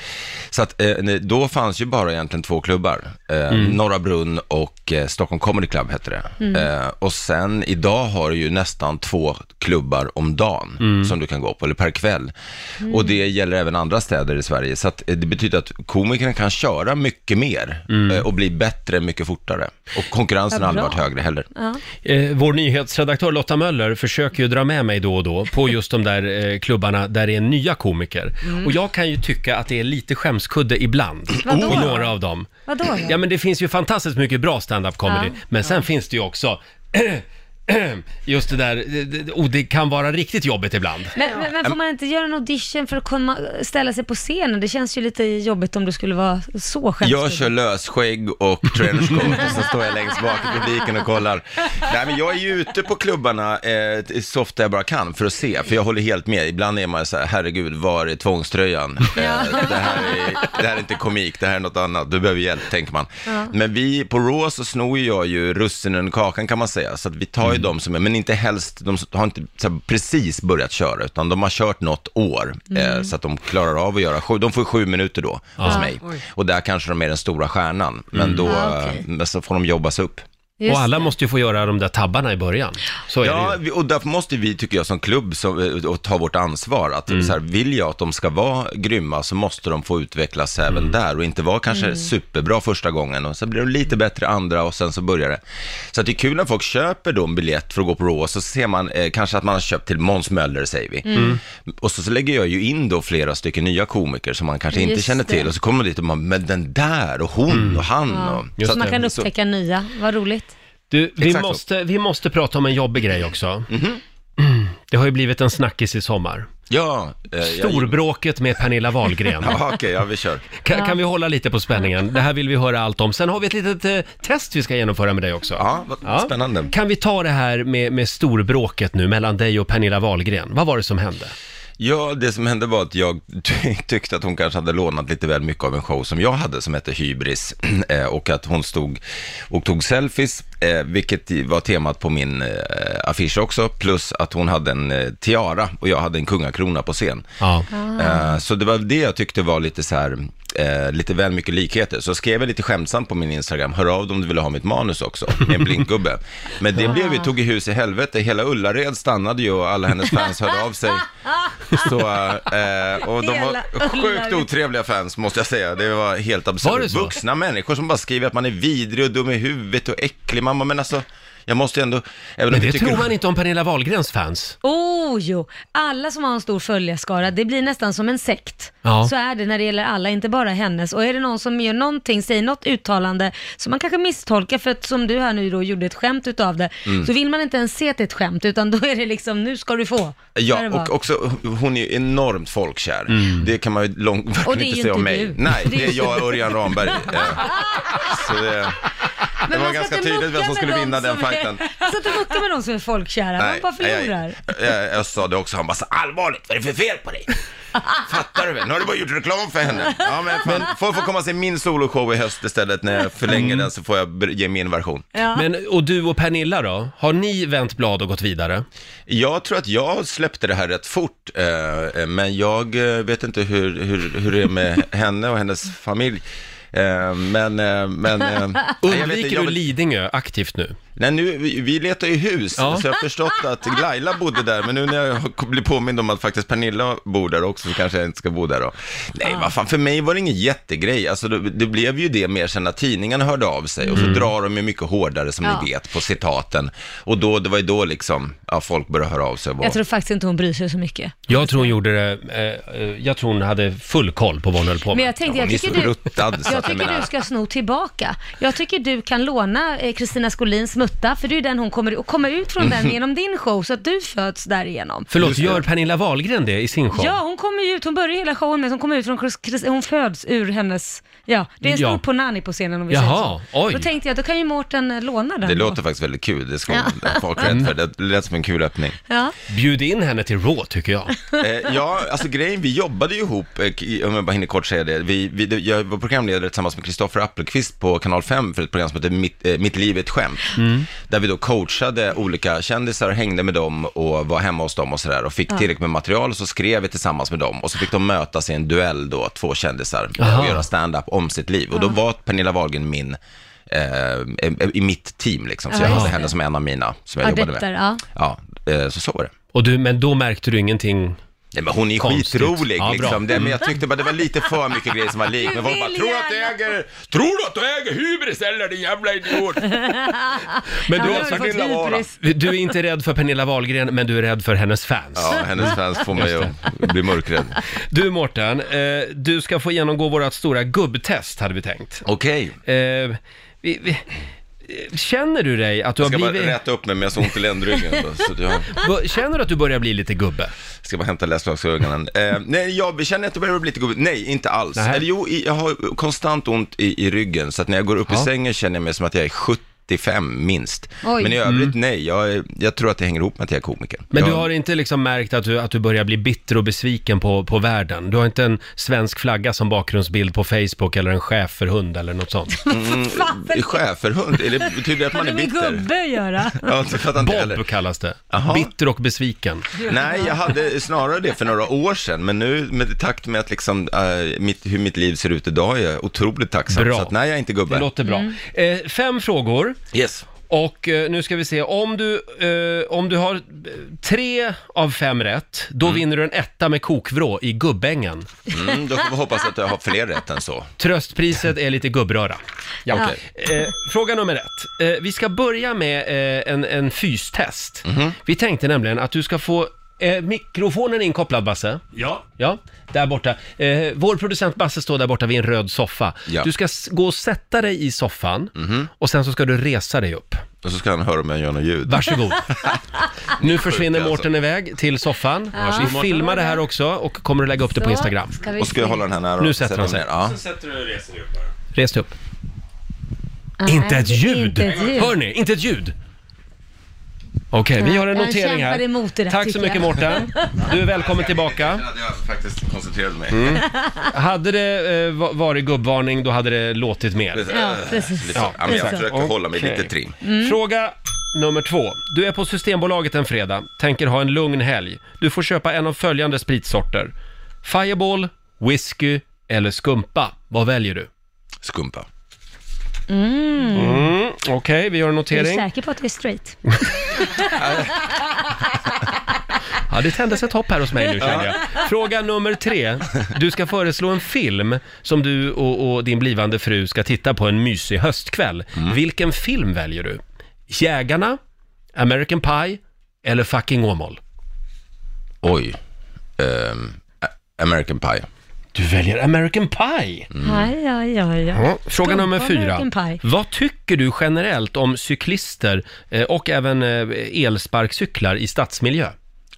Så att eh, nej, då fanns ju bara egentligen två klubbar. Eh, Mm. Norra Brunn och eh, Stockholm Comedy Club hette det. Mm. Eh, och sen idag har du ju nästan två klubbar om dagen Mm. som du kan gå på, eller per kväll. Mm. Och det gäller även andra städer i Sverige. Så att, eh, det betyder att komikerna kan köra mycket mer Mm. eh, och bli bättre mycket fortare. Och konkurrensen Vad har aldrig bra. varit högre heller. Eh, vår nyhetsredaktör Lotta Möller försöker ju dra med mig då och då på just de där eh, klubbarna där det är nya komiker. Mm. Och jag kan ju tycka att det är lite skämskudde ibland Vadå? på några av dem. Vadå då? Ja men det finns ju fantastiskt mycket bra stand-up comedy, Ja. men sen finns det ju också *clears throat* Just det där, det- det- och det kan vara riktigt jobbigt ibland. Men, men, men får man inte göra en audition för att komma, ställa sig på scenen? Det känns ju lite jobbigt om du skulle vara så Jag skämtsam. kör lösskägg *laughs* och trenchcoat och så står jag längst bak i publiken och kollar. Nej men jag är ju ute på klubbarna eh, så ofta jag bara kan för att se, för jag håller helt med. Ibland är man så här, herregud, var är tvångströjan? Eh, det, här *laughs* är, det här är inte komik, det här är något annat, du behöver hjälp, tänker man. Ja. Men vi, på Raw så snor ju jag ju russinen ur kakan kan man säga, så att vi tar ju de som är, men inte helst, de har inte så här, precis börjat köra, utan de har kört något år, eh, Mm. så att de klarar av att göra sju, de får sju minuter då hos Ja. mig. Oj. Och där kanske de är den stora stjärnan, men Mm. då Ah, okej. eh, men så får de jobbas upp. Just och alla måste ju få göra de där tabbarna i början. Så är ja, vi- och därför måste vi, tycker jag, som klubb så, eh, och ta vårt ansvar. Att Mm. så här, vill jag att de ska vara grymma så måste de få utvecklas även där och inte vara kanske Mm. superbra första gången och sen blir de lite bättre andra och sen så börjar det. Så att det är kul när folk köper då en biljett för att gå på Raw och så ser man eh, kanske att man har köpt till Måns Möller, säger vi. Mm. Och så, så lägger jag ju in då flera stycken nya komiker som man kanske inte Just känner till det. Mm. och så kommer man dit och man, men den där och hon och han. Ja. Och, Så att- man kan så- upptäcka nya, vad roligt. Du, vi, Exakt så. måste, vi måste prata om en jobbig grej också. *clears throat* Det har ju blivit en snackis i sommar. Ja, eh, jag- Storbråket med Pernilla Wahlgren. *laughs* Ja, okej, ja vi kör. Kan, Ja. kan vi hålla lite på spänningen? Det här vill vi höra allt om. Sen har vi ett litet eh, test vi ska genomföra med dig också. Ja, spännande. Kan vi ta det här med, med storbråket nu mellan dig och Pernilla Wahlgren? Vad var det som hände? Ja, det som hände var att jag ty- *laughs* tyckte att hon kanske hade lånat lite väl mycket av en show som jag hade som hette Hybris *clears throat* eh, och att hon stod och tog selfies, eh, vilket i- var temat på min eh, affisch också, plus att hon hade en eh, tiara och jag hade en kungakrona på scen. Ja. Eh, Så det var det jag tyckte var lite så här, eh, lite väl mycket likheter. Så skrev jag lite skämtsamt på min Instagram, hör av dig om du vill ha mitt manus också, med en blinkgubbe. Men det blev ju, tog i hus i helvete, hela Ullared stannade ju och alla hennes fans hörde *laughs* av sig. Så, eh, och de Hela var sjukt Ullared. otrevliga fans måste jag säga, det var helt Var absurt. det så? Vuxna människor som bara skriver att man är vidrig och dum i huvudet och äcklig, mamma men alltså, jag måste ju ändå... Även Men om jag det tycker- tror man inte om Pernilla Wahlgrens fans. Oh jo, alla som har en stor följarskara, det blir nästan som en sekt. Ja. Så är det när det gäller alla, inte bara hennes. Och är det någon som gör någonting, säger något uttalande som man kanske misstolkar, för att som du här nu då gjorde ett skämt utav det, Mm. så vill man inte ens se att det är ett skämt, utan då är det liksom, nu ska du få. Så är det Ja, bara. och också, hon är ju enormt folkkär. Mm. Det kan man ju långt verkligen det är ju inte säga om inte mig. du. Nej, Det är det är ju jag inte och du. Örjan *laughs* Ramberg. Eh, Så det, det man var ska ganska inte tydligt mucka vem som med skulle dem vinna den som är- *laughs* fighten. Man ska inte mucka med de som är folkkära, man bara förlorar. Jag, jag, jag sa det också, han bara så allvarligt, vad är det för fel på *laughs* dig? Fattar du väl? Nu har du bara gjort reklam för henne. *laughs* Ja, men fan, folk får komma och se min soloshow i höst istället. När jag förlänger den så får jag ber- ge min version. Men, och du och Pernilla då? Har ni vänt blad och gått vidare? Jag tror att jag släppte det här rätt fort, *laughs* eh, men jag eh, vet inte hur, hur, hur det är med henne och hennes familj. Eh, men, eh, men... eh, jag vet inte, Undviker jag du vill- Lidingö aktivt nu? Nej, nu, vi, vi letar ju hus, Ja. så jag har förstått att Laila bodde där, men nu när jag har- blir påmind om att faktiskt Pernilla bor där också, så kanske jag inte ska bo där då. Nej, vad fan, för mig var det ingen jättegrej. Alltså, det, det blev ju det mer sen när tidningarna hörde av sig, Mm. och så drar de ju mycket hårdare, som Ja. ni vet, på citaten. Och då, det var ju då liksom, ja, folk började höra av sig. och Jag var- tror faktiskt inte hon bryr sig så mycket. Jag tror hon gjorde det, eh, eh, jag tror hon hade full koll på vad hon höll på med. Men jag tänkte, jag hon är tycker, så du, ruttad, så jag att jag tycker menar- du ska sno tillbaka. Jag tycker du kan låna eh, Kristina Skolins mutta, för det är ju den hon kommer, och komma ut från Mhm. den genom din show, så att du föds därigenom. Förlåt, gör Pernilla Wahlgren det i sin show? Ja, hon kommer ju ut, hon börjar hela showen med att hon kommer ut från Chris- Chris- hon föds ur hennes, ja, det är en stor Ja. punani på scenen om vi Jaha, säger så. oj. Då tänkte jag, då kan ju Mårten eh, låna den. Det då. låter faktiskt väldigt kul, det ska hon- folk ha rätt för. Det lät som en kul öppning. Ja. Bjud in henne till Raw tycker jag. *laughs* Eh, ja, alltså grejen, vi jobbade ju ihop, eh, k- om jag bara hinner kort säga det. Vi, vi, det- jag var programledare tillsammans med Kristoffer Appelqvist på Kanal 5 för ett program som heter Mitt, eh, Mitt liv är ett skämt. Där vi då coachade olika kändisar, hängde med dem och var hemma hos dem och sådär. Och fick tillräckligt med material och så skrev vi tillsammans med dem. Och så fick de mötas i en duell då, två kändisar, Aha. och göra stand-up om sitt liv. Och då var Pernilla Wahlgren min eh, eh, i mitt team liksom, så Ja, jag just hade det. henne som en av mina som jag jobbade Adepter, med. ja. Ja, eh, så så var det. Och du, men då märkte du ingenting? Nej, men hon är ju Konstigt. skitrolig Ja, bra. Mm. liksom. det, men jag tyckte bara det var lite för mycket grejer som var lik. Men folk bara, vill tror du att du gärna." *laughs* äger, tror du att du äger hybris eller din jävla idiot? Men Ja, du, nu har du fått Pernilla Wahlgren. hybris. du är inte rädd för Pernilla Wahlgren, men du är rädd för hennes fans. Ja, hennes fans får mig att bli mörkrädd. Du Mårten, eh, du ska få genomgå vårt stora gubbtest hade vi tänkt. Okej, Eh, vi, vi, eh, känner du dig att du jag har ska bara blivit... räta upp mig men jag har så ont i ländryggen. då, Så jag *laughs* Bo- Känner du att du börjar bli lite gubbe? ska bara hämta läsglasögonen. Eh, nej, jag känner att jag börjar bli lite gubbig. Nej, inte alls. Nej. Eller jo, i- jag har konstant ont i, i ryggen så att när jag går upp Ja. i sängen känner jag mig som att jag är 75 minst. Oj. Men i övrigt nej, jag, är- jag tror att det hänger ihop med att jag är komiker. Mm. Men jag, du har inte liksom märkt att du, att du börjar bli bitter och besviken på, på världen? Du har inte en svensk flagga som bakgrundsbild på Facebook eller en schäferhund eller *laughs* något sånt? Fan, för- Mm, Schäferhund, är det, betyder det att Har man det är med bitter? gubbe att göra? Ja, alltså. det fattar inte heller. Bob kallas det. Jaha. Bitter och besviken. Nej, jag hade snarare det för några år sedan, men nu med i takt med att liksom, eh, mitt, hur mitt liv ser ut idag är jag otroligt tacksam. Bra. Så att, nej, jag är inte gubbe. Mm. Det låter bra. Eh, fem frågor. Yes. Och eh, nu ska vi se, om du, eh, om du har eh, tre av fem rätt, då vinner du en etta med kokvrå i Gubbängen. Mm, då får vi hoppas att jag har fler rätt än så. Tröstpriset är lite gubbröra. Ja, eh, fråga nummer ett. Eh, vi ska börja med eh, en, en fystest. Mhm. Vi tänkte nämligen att du ska få eh, mikrofonen inkopplad, Basse. Ja. Ja, där borta. Eh, vår producent Basse står där borta vid en röd soffa. Ja. Mhm. Du ska s- gå och sätta dig i soffan och sen så ska du resa dig upp. Och så ska han höra om jag gör något ljud. *laughs* Varsågod. nu försvinner alltså. Mårten iväg till soffan. Varsågod, Vi Mårten. filmar det här också och kommer att lägga upp det på Så, Instagram. Ska vi Och ska jag se. hålla den här nära? Nu och sätter sätta han sig. mig ner? Ja. Sen sätter du och reser dig upp bara. Res dig upp. Nej, Inte ett ljud! Inte ett ljud. Hör ni? Inte ett ljud! Okej, vi har en Han notering kämpar här. emot det där, Tack så tycker mycket jag. Mårten. Du är välkommen tillbaka. Jag hade faktiskt koncentrerat mig. Mm. *laughs* Hade det eh, va- varit gubbvarning, då hade det låtit mer. Ja, precis. Ja, men jag precis. försöker hålla mig lite trim. Mm. Fråga nummer två. Du är på Systembolaget en fredag, tänker ha en lugn helg. Du får köpa en av följande spritsorter. Fireball, whisky eller skumpa. Vad väljer du? Skumpa. Mm, Okej, vi gör en Är du notering. säker på att det är straight? Mm. Ja, det tändes ett hopp här hos mig nu känner jag. Fråga nummer tre. Du ska föreslå en film som du och, och din blivande fru ska titta på en mysig höstkväll. Vilken film väljer du? Jägarna, American Pie eller Fucking Åmål? Oj. Ehm, A- American Pie. Du väljer American Pie! Aj, aj, aj, aj. Ja, fråga Skumpa nummer fyra. American Pie. Vad tycker du generellt om cyklister eh, och även eh, elsparkcyklar i stadsmiljö?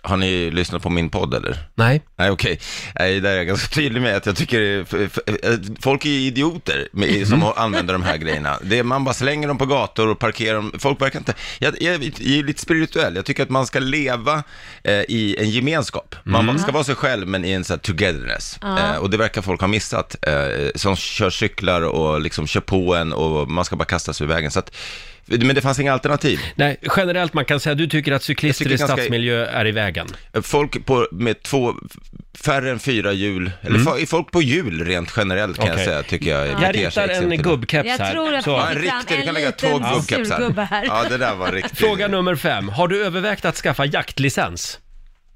Har ni lyssnat på min podd eller? Nej. Nej okej, Nej, där är jag ganska *laughs* tydlig med att jag tycker f- f- eh, folk är idioter med, som använder de här grejerna. Det, är- man bara slänger dem på gator och parkerar dem. Folk verkar inte... Jag, jag, är ju lite spirituell, jag tycker att man ska leva eh, i en gemenskap. Man ska vara sig själv men i en sån här togetherness. Eh, och det verkar folk ha missat, eh, som kör cyklar och liksom kör på en och man ska bara kasta sig ur vägen. Så att, Men det fanns inga alternativ. Nej, generellt man kan säga, du tycker att cyklister Jag tycker i ganska- stadsmiljö är i vägen? Folk på, med två, färre än fyra hjul, eller fa- folk på hjul rent generellt kan jag Mm. Okej. säga, tycker jag. Jag beter sig ritar en exempelvis. gubbkeps Jag här. tror att Så. vi fick fram en, liten surgubbe här. Ja, det där var riktigt. Fråga nummer fem. Har du övervägt att skaffa jaktlicens?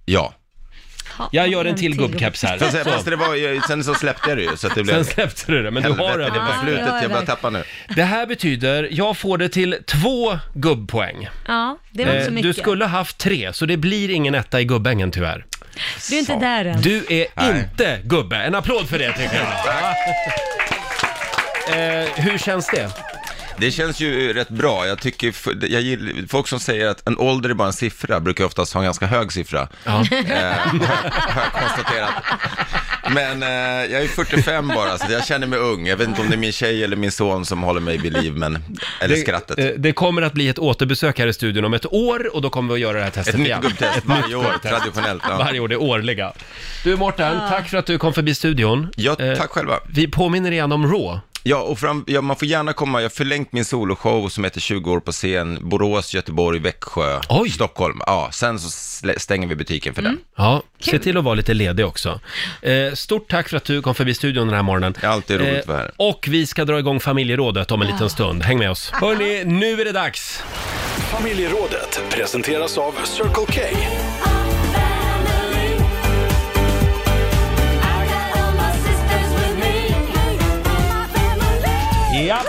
Ja. Jag gör en till gubbkeps här. Fast, Så. fast det var, ju- sen så släppte jag det ju, så att det blev... Sen släppte du det, men du har Helvete, det övervägt. var Ja, det har slutet, jag jag börjar verkligen. tappa nu. Det här betyder, jag får det till två gubbpoäng. Ja, det var inte så Eh, mycket. Du skulle haft tre, så det blir ingen etta i gubbängen tyvärr. Du är inte där än. Du är Nej. inte gubbe. En applåd för det *laughs* tycker jag. Eh, hur känns det? Det känns ju rätt bra. Jag tycker, f- jag gillar, folk som säger att en ålder är bara en siffra brukar oftast ha en ganska hög siffra. Ja. Eh, har jag konstaterat. Men eh, jag är 45 bara, så jag känner mig ung. Jag vet inte om det är min tjej eller min son som håller mig vid liv, men, eller skrattet. eh, det kommer att bli ett återbesök här i studion om ett år och då kommer vi att göra det här testet Ett nytt igen. gubbtest varje år, traditionellt. Ja. Varje år, det årliga. Du Mårten, tack för att du kom förbi studion. Ja, Eh, tack själva. Vi påminner igen om Raw. Ja, och fram, ja, man får gärna komma. Jag har förlängt min soloshow som heter 20 år på scen. Borås, Göteborg, Växjö, Oj. Mm. Stockholm. Ja, sen så slä- stänger vi butiken för den. Ja, se till att vara lite ledig också. Eh, stort tack för att du kom förbi studion den här morgonen. Eh, Det är alltid roligt att vara här. och vi ska dra igång familjerådet om en liten stund. Häng med oss. Hörni, nu är det dags. Familjerådet presenteras av Circle K. Ja.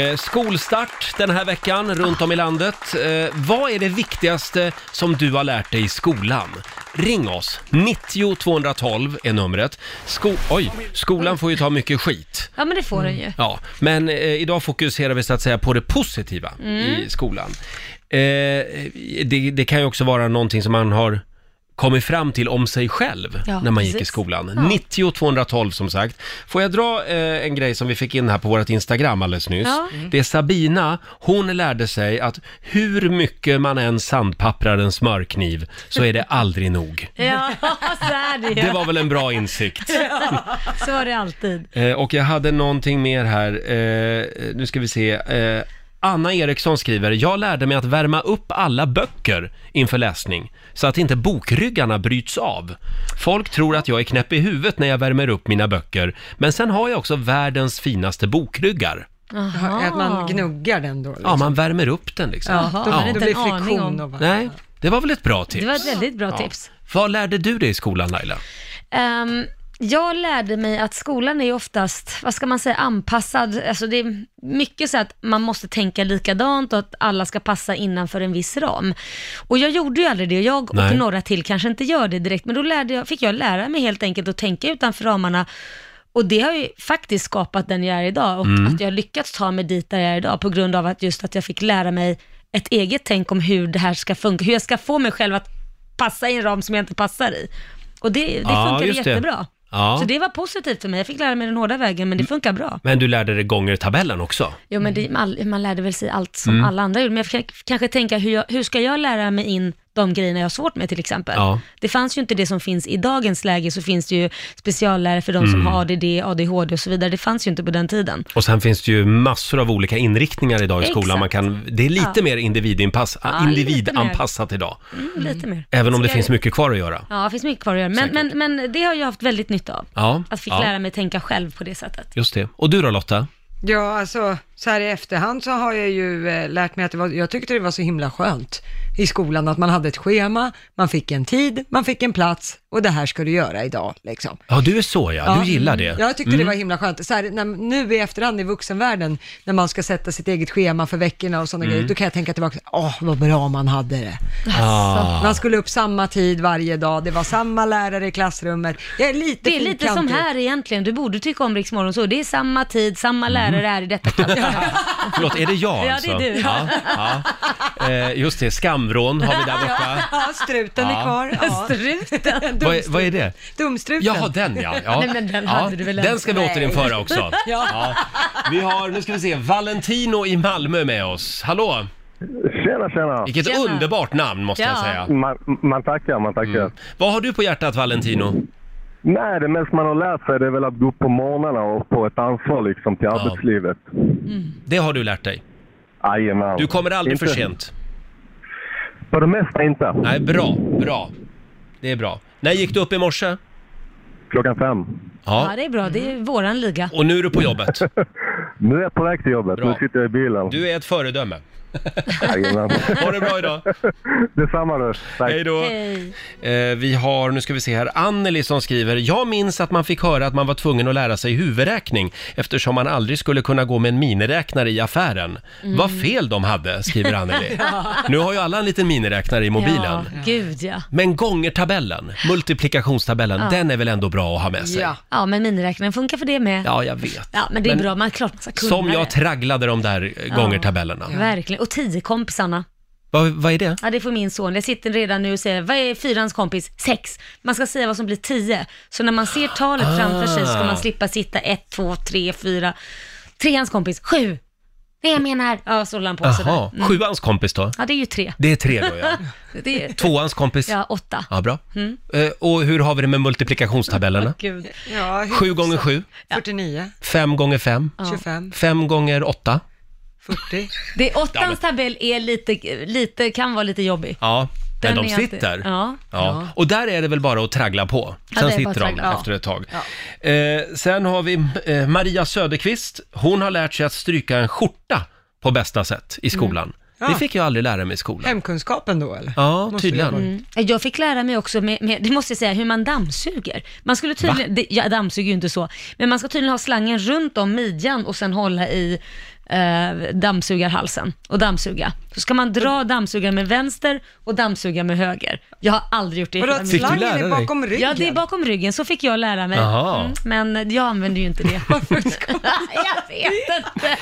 Eh, skolstart den här veckan runt om i landet. Eh, vad är det viktigaste som du har lärt dig i skolan? Ring oss! 90 212 är numret. Sko- Oj, skolan får ju ta mycket skit. Ja, men det får den ju. Ja, men eh, idag fokuserar vi så att säga på det positiva Mm. i skolan. Eh, det, det kan ju också vara någonting som man har kommit fram till om sig själv Ja, när man gick i precis. skolan. Ja. 90 212 som sagt. Får jag dra eh, en grej som vi fick in här på vårt Instagram alldeles nyss. Ja. Det är Sabina, hon lärde sig att hur mycket man än sandpapprar en smörkniv så är det aldrig *laughs* nog. Ja, så är det ju. Det var *laughs* väl en bra insikt. Så var det alltid. Eh, och jag hade någonting mer här. Eh, nu ska vi se. Eh, Anna Eriksson skriver, jag lärde mig att värma upp alla böcker inför läsning så att inte bokryggarna bryts av. Folk tror att jag är knäpp i huvudet när jag värmer upp mina böcker, men sen har jag också världens finaste bokryggar. Ja, Att man gnuggar den då. Ja, man värmer upp den liksom. Jaha. Då Ja. blir det blir Inte en aning friktion om. och bara... Nej, det var väl ett bra tips? Det var ett väldigt bra Ja. tips. Vad lärde du dig i skolan Laila? Ehm, jag lärde mig att skolan är ju oftast, vad ska man säga, anpassad. Alltså det är mycket så att man måste tänka likadant och att alla ska passa innanför en viss ram. Och jag gjorde ju aldrig det. Jag och Nej. några till kanske inte gör det direkt, men då lärde jag, fick jag lära mig helt enkelt att tänka utanför ramarna. Och det har ju faktiskt skapat den jag är idag och att jag har lyckats ta mig dit där jag är idag på grund av att just att jag fick lära mig ett eget tänk om hur det här ska funka, hur jag ska få mig själv att passa i en ram som jag inte passar i. Och det, det Ja, funkade just det. jättebra. Ja. Mm. Så det var positivt för mig. Jag fick lära mig den hårda vägen, men det funkar bra. Men du lärde dig gångertabellen också. Jo, men det, man, man lärde väl sig allt Mm. som alla andra gjorde, men jag fick kanske tänka hur, jag, hur ska jag lära mig in de grejerna jag har svårt med till exempel. Ja. Det fanns ju inte det som finns i dagens läge, så finns det ju speciallärare för de Mm. som har ADD, ADHD och så vidare. Det fanns ju inte på den tiden. Och sen finns det ju massor av olika inriktningar idag i Exakt. skolan. Man kan, det är lite Ja. mer individinpass, Ja, lite individanpassat idag. Mm, Lite mer. Även om Så det jag- finns mycket kvar att göra. Ja, det finns mycket kvar att göra, men, men, men det har jag haft väldigt nytta av. Ja, Att fick ja. lära mig tänka själv på det sättet. Just det. Och du då Lotta? Ja, alltså så här i efterhand så har jag ju eh, lärt mig att det var, jag tyckte det var så himla skönt i skolan att man hade ett schema, man fick en tid, man fick en plats och det här ska du göra idag liksom. Ja, du är så ja. Du gillar det. Mm. Jag tyckte det var himla skönt. Så här, när, nu i efterhand i vuxenvärlden, när man ska sätta sitt eget schema för veckorna och sådana Mm. grejer, då kan jag tänka tillbaka, åh vad bra man hade det. Ah. Man skulle upp samma tid varje dag, det var samma lärare i klassrummet. Jag är lite Det är lite som fyrkantig. här egentligen, du borde tycka om Rix Morgon så. Det är samma tid, samma lärare är i *laughs* detta klassrum. Mm. Förlåt, är det jag *laughs* Ja, alltså? det är du. Ja, ja. Eh, just det, skamvrån Mm, har vi där *laughs* borta. *laughs* Ja, struten Ja. är kvar. Ja. *laughs* Struten. Vad, är- vad är det? Dumstruten. Jaha, den *laughs* ja. *laughs* ja. Nej, men den ja. hade du väl den ändå. ska vi Nej. återinföra också. *laughs* Ja. Vi har, nu ska vi se, Valentino i Malmö med oss. Hallå! Tjena, tjena. Vilket Tjena. underbart namn måste jag Ja. säga. Mm. Man, man tackar, man tackar. Vad har du på hjärtat Valentino? Mm. Nej, det mest man har lärt sig det är väl att gå upp på morgnarna och få ett ansvar liksom till arbetslivet. Det har du lärt dig. Jajamän. Du kommer aldrig Inte- för sent. För det mesta inte. Nej, bra, bra. Det är bra. När gick du upp i morse? Klockan fem. Ja. Ja, det är bra. Det är våran liga. Och nu är du på jobbet. *laughs* Nu är jag på väg till jobbet. Bra. Nu sitter jag i bilen. Du är ett föredöme. Jajamän. Ha det bra idag. Detsamma du. Tack. Hej då. Eh, vi har, nu ska vi se här, Anneli som skriver, jag minns att man fick höra att man var tvungen att lära sig huvudräkning eftersom man aldrig skulle kunna gå med en miniräknare i affären. Mm. Vad fel de hade, skriver Anneli. *laughs* Ja. Nu har ju alla en liten miniräknare i mobilen. Ja, gud ja. Men gångertabellen, multiplikationstabellen, Ja. den är väl ändå bra att ha med sig? Ja. ja, men miniräknaren funkar för det med. Ja, jag vet. Ja, men det är Men bra. Man klart man ska kunna Som jag det. tragglade de där eh, Ja. gångertabellerna. Verkligen. Och tio kompisarna. Vad, vad är det? Ja, det får min son. Jag sitter redan nu och säger, vad är fyrans kompis? Sex. Man ska säga vad som blir tio. Så när man ser talet Ah. framför sig ska man slippa sitta ett, två, tre, fyra. Treans kompis, sju. Det jag menar. Ja, så håller han på Jaha, sådär. Mm. sjuans kompis då? Ja, det är ju tre. Det är tre då, ja. *laughs* det är... Tvåans kompis? Ja, åtta. Ja, bra. Mm. Eh, Och hur har vi det med multiplikationstabellerna? Gud. Ja, hur- Sju gånger sju, 49, fem gånger fem, 25, fem gånger åtta. 40. Det, åttans tabell är lite, lite, kan vara lite jobbig. Ja, men Den de är sitter. alltid- ja. ja. Ja. Och där är det väl bara att traggla på. Ja, Sen det är bara sitter de att traggla. efter ett tag. Ja. Eh, sen har vi eh, Maria Söderqvist. Hon har lärt sig att stryka en skjorta på bästa sätt i skolan. Ja. Det fick jag aldrig lära mig i skolan. Hemkunskapen då eller? Ja, Måste tydligen. det vara. Mm. Jag fick lära mig också, med, med, det måste jag säga, hur man dammsuger. Man skulle tydligen, det, jag dammsuger ju inte så, men man ska tydligen ha slangen runt om midjan och sen hålla i eh, dammsugarhalsen och dammsuga. Så ska man dra dammsugaren med vänster och dammsuga med höger. Jag har aldrig gjort det i Vadå, hela mitt fick du liv. lära dig? bakom Ja, ryggen? det är bakom ryggen. Så fick jag lära mig. Jaha. Mm, men jag använder ju *laughs* inte det. Varför ska *laughs* jag vet inte.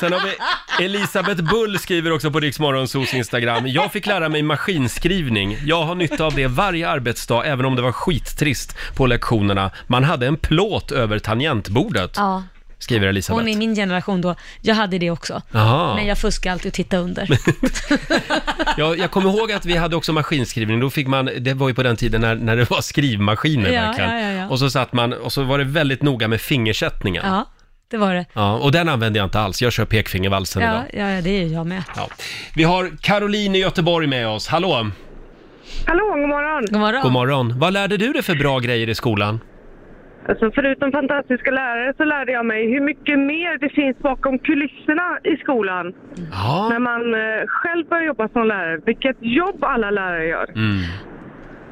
Sen har vi Elisabeth Bull skriver också på Riksmorgonsos Instagram. Jag fick lära mig maskinskrivning. Jag har nytta av det varje arbetsdag, även om det var skittrist på lektionerna. Man hade en plåt över tangentbordet, Ja, skriver hon Elisabeth. är min generation då. Jag hade det också. Jaha. Men jag fuskar alltid och tittar under. Jag, jag kommer ihåg att vi hade också maskinskrivning. Då fick man, det var ju på den tiden när, när det var skrivmaskiner Ja, verkligen. ja, ja, ja. Och så satt man, och så var det väldigt noga med fingersättningen. *laughs* Ja. Ja, det var det. och den använde jag inte alls. Jag kör pekfingervalsen idag. Ja, ja, ja, det är jag med. Ja. Vi har Caroline i Göteborg med oss. Hallå! Hallå, god morgon. God morgon. God morgon. Vad lärde du dig för bra grejer i skolan? Alltså förutom fantastiska lärare så lärde jag mig hur mycket mer det finns bakom kulisserna i skolan. När man eh, själv börjar jobba som lärare, vilket jobb alla lärare gör. Mm.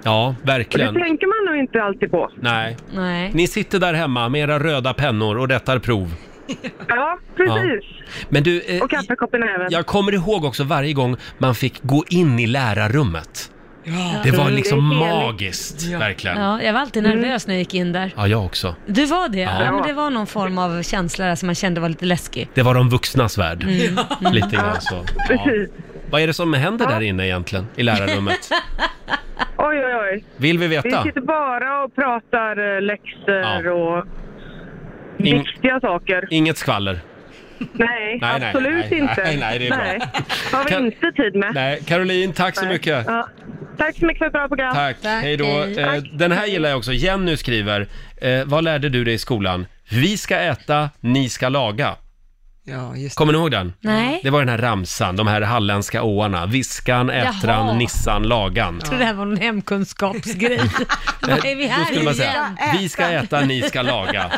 Ja, Och det verkligen. tänker man nog inte alltid *laughs* på. Nej. Nej. Ni sitter där hemma med era röda pennor och rättar prov. Ja, precis. Men du, eh, Och kaffekoppen även. jag kommer ihåg också varje gång man fick gå in i lärarrummet. Det Mm. var liksom Det är heligt. magiskt, verkligen. Ja, jag var alltid nervös när jag gick in där. Ja, jag också. Du var det? Ja. Ja. men det var någon form av känsla där som man kände var lite läskig. Det var de vuxnas värld. Mm. *laughs* Mm. Lite grann så. Ja. Vad är det som händer där inne egentligen, *laughs* i lärarrummet? Oj, oj, oj. Vill vi Vi veta? sitter bara och pratar eh, läxor Ja. och Ing- viktiga saker. inget skvaller? Nej, *laughs* Nej, nej, absolut nej, inte. nej, nej, det är bra. Det har vi Kan- inte tid med. Nej, Caroline, tack så Nej. mycket. Ja. Tack så mycket för ett bra program. Tack, hej då. Eh, Tack. Den här gillar jag också. Jenny skriver, eh, vad lärde du dig i skolan? Vi ska äta, ni ska laga. Ja, just Kommer ni ihåg den? Nej. Det var den här ramsan, de här halländska åarna. Viskan, Ättran, Jaha. Nissan, Lagan. Eh, Jag tror det här var någon *laughs* hemkunskapsgrej. *laughs* Vad är vi Då här skulle man säga, igen? vi ska äta, ni ska laga.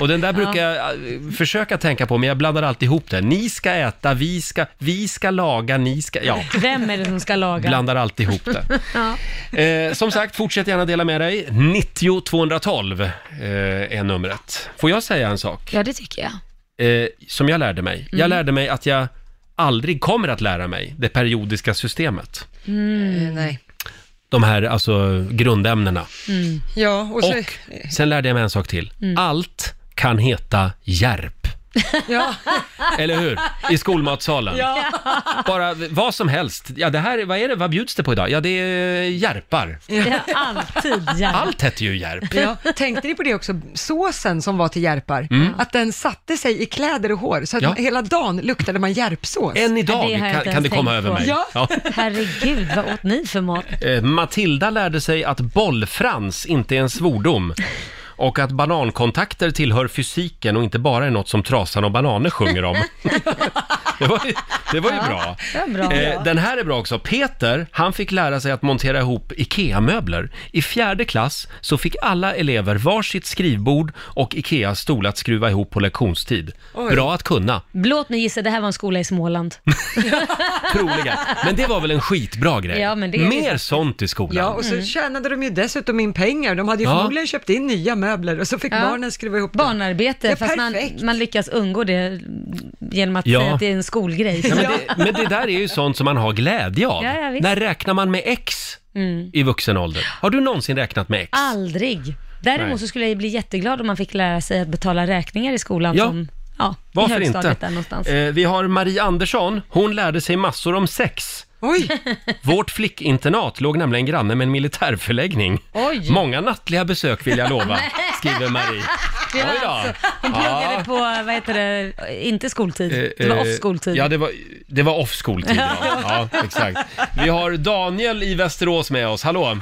Och den där brukar jag eh, försöka tänka på, men jag blandar alltid ihop det. Ni ska äta, vi ska, vi ska laga, ni ska... Ja, Vem är det som ska laga? blandar alltid ihop det. *laughs* Ja. Eh, som sagt, fortsätt gärna dela med dig. 90 212 eh, är numret. Får jag säga en sak ja, det tycker jag. eh, som jag lärde mig? Jag Mm. lärde mig att jag aldrig kommer att lära mig det periodiska systemet. Eh, Nej. De här alltså grundämnena. Mm. Ja, och Och så... Eh. sen lärde jag mig en sak till. Allt kan heta järp. *laughs* Ja. Eller hur? I skolmatsalen. Ja. Bara v- vad som helst. Ja, det här, vad är det, vad bjuds det på idag? Ja, det är järpar. Ja. Alltid ja. Allt hette ju järp. Ja, tänkte ni på det också, såsen som var till järpar, Mm. att den satte sig i kläder och hår, så att Ja. hela dagen luktade man järpsås. Än idag det har jag kan, inte ens kan det komma tänkt över på. mig. Ja. Herregud, vad åt ni för mat? Eh, Matilda lärde sig att bollfrans inte är en svordom och att banankontakter tillhör fysiken och inte bara är något som trasan och bananer sjunger om. *laughs* Det var ju, det var ju Ja, bra. det var bra. Eh, den här är bra också. Peter, han fick lära sig att montera ihop IKEA-möbler. I fjärde klass så fick alla elever varsitt skrivbord och IKEA-stol att skruva ihop på lektionstid. Oj. Bra att kunna, Låt mig gissa, det här var en skola i Småland. troligen. Men det var väl en skitbra grej? Ja, men det är- Mer sånt i skolan. Ja, och så Mm. tjänade de ju dessutom in pengar. De hade ju Ja. förmodligen köpt in nya möbler och så fick Ja. barnen skriva ihop det. Barnarbete, Ja, fast man, perfekt. man lyckas undgå det genom att Ja. säga att det är en skolgrej. Nej, men, det, men det där är ju sånt som man har glädje av. Ja, ja, visst. När räknar man med X Mm. i vuxen ålder? Har du någonsin räknat med X? Aldrig. Däremot Nej. så skulle jag ju bli jätteglad om man fick lära sig att betala räkningar i skolan Ja. som, ja, i Varför högstadiet inte? där någonstans. Eh, vi har Marie Andersson. Hon lärde sig massor om sex. Vårt flickinternat låg nämligen granne med en militärförläggning. Oj. Många nattliga besök vill jag *laughs* lova, skriver Marie. Det var Oj då. alltså, hon Ja. pluggade på, vad heter det, inte skoltid, det var Eh, eh, off-skoltid. Ja, det var, det var off-skoltid. *laughs* Ja. ja, exakt. Vi har Daniel i Västerås med oss. Hallå!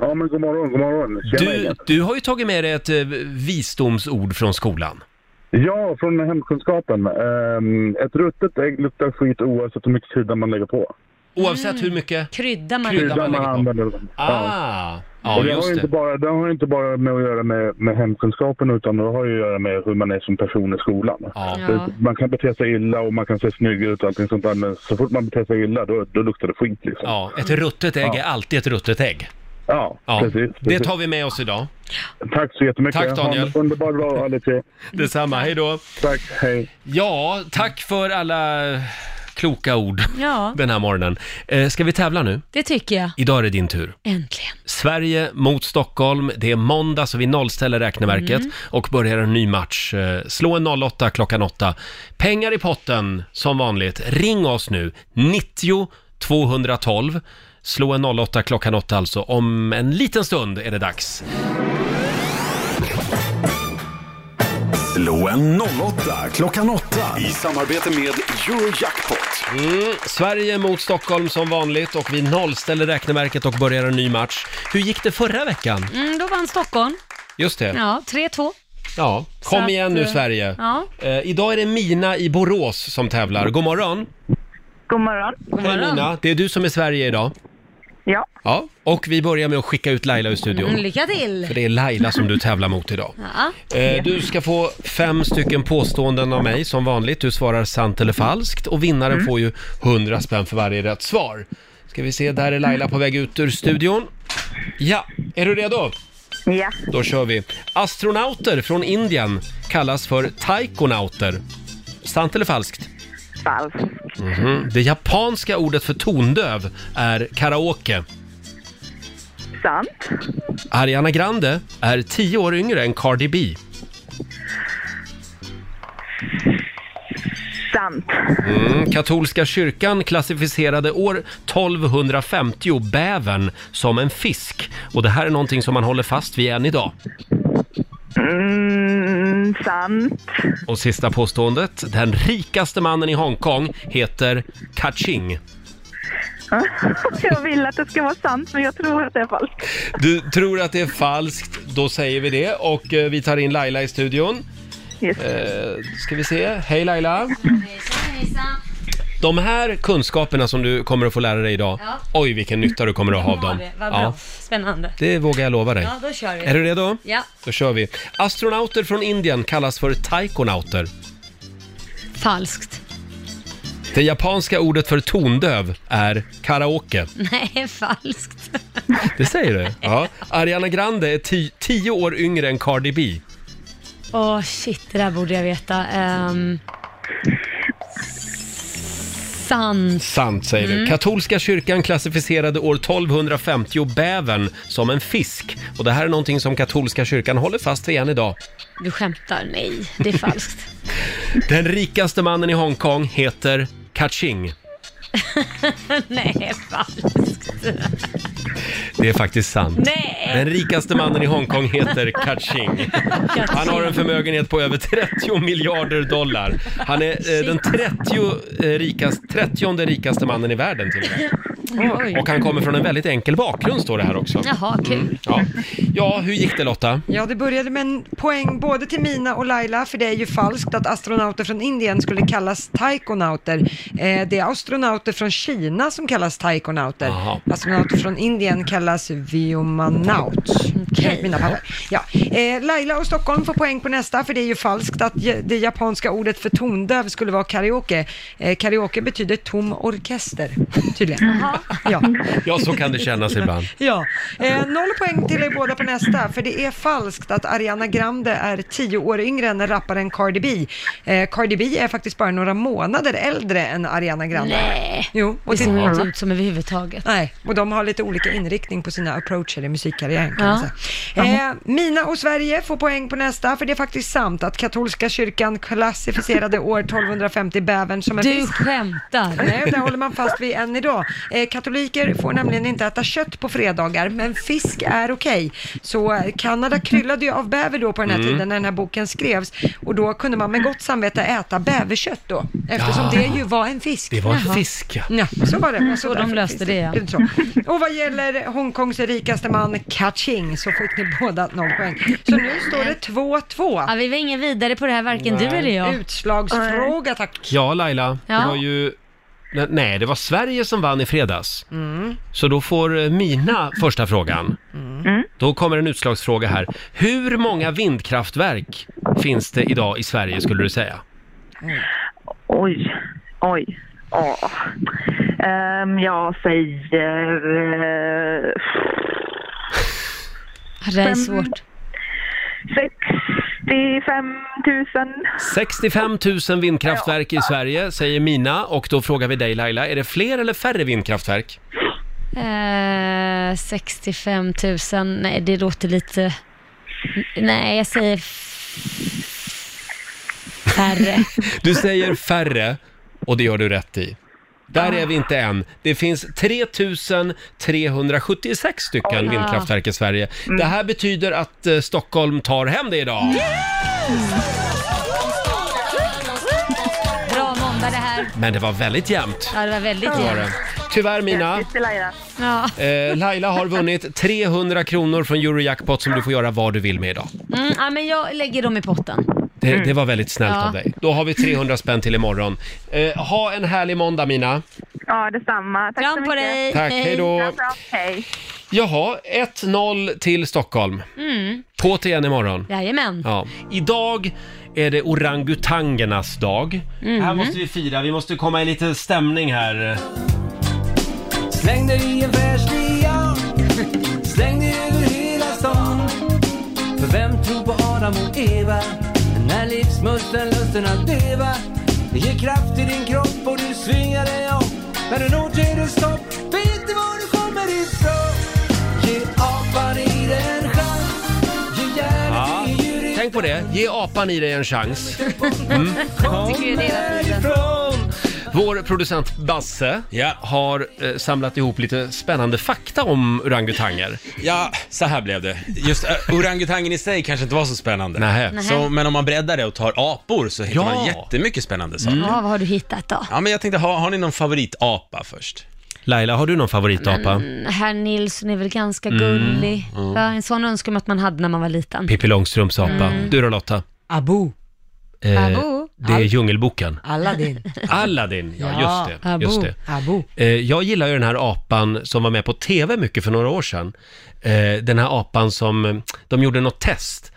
Ja, men god morgon, god morgon. Tjena, Du, Inga. du har ju tagit med dig ett eh, visdomsord från skolan. Ja, från hemkunskapen. Ehm, ett ruttet ägg luktar skit oavsett hur mycket krydda man lägger på. Oavsett hur mycket Mm. krydda man, Krydda man, lägger på. använder. Ah, ja, Och det, har just ju inte det. bara, det har ju inte bara med att göra med, med hemkunskapen utan det har ju att göra med hur man är som person i skolan. Ja. Man kan bete sig illa och man kan se snygg ut och allting sånt där men så fort man beter sig illa då, då luktar det skit liksom. Ja, ett ruttet ägg är alltid ett ruttet ägg. Ja, precis, Det precis. tar vi med oss idag. Tack så jättemycket. Tack, Daniel. Ha en underbar dag alla tre. *laughs* Detsamma, hej då. Tack, hej. Ja, tack för alla kloka ord Ja. den här morgonen. Eh, ska vi tävla nu? Det tycker jag. Idag är det din tur. Äntligen. Sverige mot Stockholm. Det är måndag så vi nollställer räkneverket Mm. och börjar en ny match. Eh, Slå en 08 klockan 8. Pengar i potten som vanligt. Ring oss nu, 90 212. Slå en 08 klockan 8 alltså. Om en liten stund är det dags. Slå en 08 klockan 8. I samarbete med Eurojackpot. Mm, Sverige mot Stockholm som vanligt och vi nollställer räkneverket och börjar en ny match. Hur gick det förra veckan? Mm, då vann Stockholm. Just det. Ja, 3-2. Ja, Så kom att, igen nu eh, Sverige. Ja. Eh, idag är det Mina i Borås som tävlar. God morgon! God morgon. Hej Mina, det är du som är Sverige idag. Ja. Ja, och vi börjar med att skicka ut Laila ur studion. Mm, lycka till! För det är Laila som du tävlar mot idag. Ja. Eh, du ska få fem stycken påståenden av mig som vanligt. Du svarar sant eller falskt och vinnaren Mm. får ju 100 spänn för varje rätt svar. Ska vi se, där är Laila på väg ut ur studion. Ja, är du redo? Ja. Då kör vi. Astronauter från Indien kallas för taikonauter. Sant eller falskt? Falskt. Mhm. Det japanska ordet för tondöv är karaoke. Sant. *laughs* Ariana Grande är tio år yngre än Cardi B. Sant. Mm. Katolska kyrkan klassificerade år 1250 bävern som en fisk. Och det här är någonting som man håller fast vid än idag. Mm, sant. Och sista påståendet. Den rikaste mannen i Hongkong heter Kaching. Jag vill att det ska vara sant, men jag tror att det är falskt. Du tror att det är falskt, då säger vi det. Och eh, vi tar in Laila i studion. Yes. Eh, ska vi se. Hej Laila! Hejsan. De här kunskaperna som du kommer att få lära dig idag, Ja. oj vilken nytta du kommer att ha av dem. Vad bra. Spännande. det vågar jag lova dig. Ja, då kör vi. Är du redo? Ja. Då kör vi. Astronauter från Indien kallas för taikonauter. Falskt. Det japanska ordet för tondöv är karaoke. Nej, *laughs* falskt. Det säger du? Ja. Ariana Grande är ti- tio år yngre än Cardi B. Åh, shit, det där borde jag veta. Ehm, sant. Sant säger du. Mm. Katolska kyrkan klassificerade år 1250 bävern som en fisk. Och det här är någonting som katolska kyrkan håller fast vid än idag. Du skämtar? Nej, det är *laughs* falskt. Den rikaste mannen i Hongkong heter Kaching. Nej, falskt. Det är faktiskt sant. Nej. Den rikaste mannen i Hongkong heter Kaching. Han har en förmögenhet på över 30 miljarder dollar. Han är eh, den 30, eh, rikast, 30 rikaste mannen i världen till och med. Oj. Och han kommer från en väldigt enkel bakgrund står det här också. Jaha, kul. Mm. Ja. Ja, hur gick det Lotta? Ja, det började med en poäng både till Mina och Laila, för det är ju falskt att astronauter från Indien skulle kallas taikonauter. Eh, det är astronauter från Kina som kallas taikonauter. Jaha. Astronauter från Indien kallas viomanauts. Enligt Mina papper. Ja. Eh, Laila och Stockholm får poäng på nästa, för det är ju falskt att ja- det japanska ordet för tondöv skulle vara karaoke. Eh, karaoke betyder tom orkester, tydligen. Ja. Ja, så kan det kännas ibland. Ja, eh, noll poäng till er båda på nästa, för det är falskt att Ariana Grande är tio år yngre än rapparen Cardi B. Eh, Cardi B är faktiskt bara några månader äldre än Ariana Grande. Nej. jo, Det ser till- inte ut som överhuvudtaget. Nej, och de har lite olika inriktning på sina approacher i musikkarriären kan Ja. man säga. Eh, Mina och Sverige får poäng på nästa, för det är faktiskt sant att katolska kyrkan klassificerade år 1250 bävern som en Du fisk. skämtar. Nej, det håller man fast vid än idag. Eh, katoliker får nämligen inte äta kött på fredagar, men fisk är okej. Så eh, Kanada kryllade ju av bäver då på den här Mm. tiden när den här boken skrevs och då kunde man med gott samvete äta bäverkött då, eftersom Ja. det ju var en fisk. Det var en Jaha. fisk, ja. Ja, så var det. Mm, Så så de därför löste finns det, ja. Så. Och vad gäller Hongkongs rikaste man Ka-Ching så fick ni båda noll poäng. Så nu står det 2-2. Ja, vi var ingen vidare på det här, varken Nej. du eller jag. Utslagsfråga, tack. Ja, Laila, det Ja. var ju... Nej, det var Sverige som vann i fredags. Så då får eh, Mina första frågan. Mm. Mm. Då kommer en utslagsfråga här. Hur många vindkraftverk finns det idag i Sverige skulle du säga? Oj, oj, åh. Ehm, jag säger... eh, Det här är fem- svårt. 65 000. 65 000 vindkraftverk i Sverige säger Mina och då frågar vi dig Laila, är det fler eller färre vindkraftverk? Eh, 65 000, nej det låter lite... Nej, jag säger f- färre. Du säger färre och det gör du rätt i. Där är vi inte än. Det finns 3376 stycken Ah. vindkraftverk i Sverige. Mm. Det här betyder att eh, Stockholm tar hem det idag. Bra måndag det här. Men det var väldigt jämnt. Ja, det var väldigt Det var jämnt. det. Tyvärr Mina, Ja. eh, Laila har vunnit 300 kronor från Eurojackpot som du får göra vad du vill med idag. Mm, ja, men jag lägger dem i potten. Det, det var väldigt snällt Mm. Ja. av dig. Då har vi 300 spänn till imorgon. Eh, ha en härlig måndag Mina. Ja, detsamma. Tack så mycket. på dig. Tack, hej. hej då. Hej. Jaha, 1-0 till Stockholm. Mm. På till igen imorgon. Jajamän. Ja. Idag är det orangutangernas dag. Mhm. Här måste vi fira, vi måste komma i lite stämning här. Släng dig i en fräsch lian Släng dig över hela stan För vem tror på Adam och Eva? När livsmusten, lusten att leva Ge kraft till din kropp och du svingar dig upp När du når till du stopp Vet du var du kommer ifrån? Ge apan i dig en chans Ge Ja. hjärnan i Tänk på det, ge apan i dig en chans. Mm. Vår producent Basse har eh, samlat ihop lite spännande fakta om orangutanger. Ja, så här blev det. Just eh, orangutangen i sig kanske inte var så spännande. Nähä. Så, men om man breddar det och tar apor så hittar Ja. man jättemycket spännande Mm. saker. Ja, vad har du hittat då? Ja, men jag tänkte, har, har ni någon favoritapa först? Laila, har du någon favoritapa? Mm, herr Nilsson är väl ganska Mm, gullig. mm. Ja, en sån önskan man att man hade när man var liten. Pippi Långstrumps apa. Mm. Du då Lotta? Eh, Abu. Abu? Det är Al- Djungelboken. Aladdin. Aladdin, ja, just det. Abu. Just det. Abu. Eh, jag gillar ju den här apan som var med på tv mycket för några år sedan. Eh, den här apan som, eh, de gjorde något test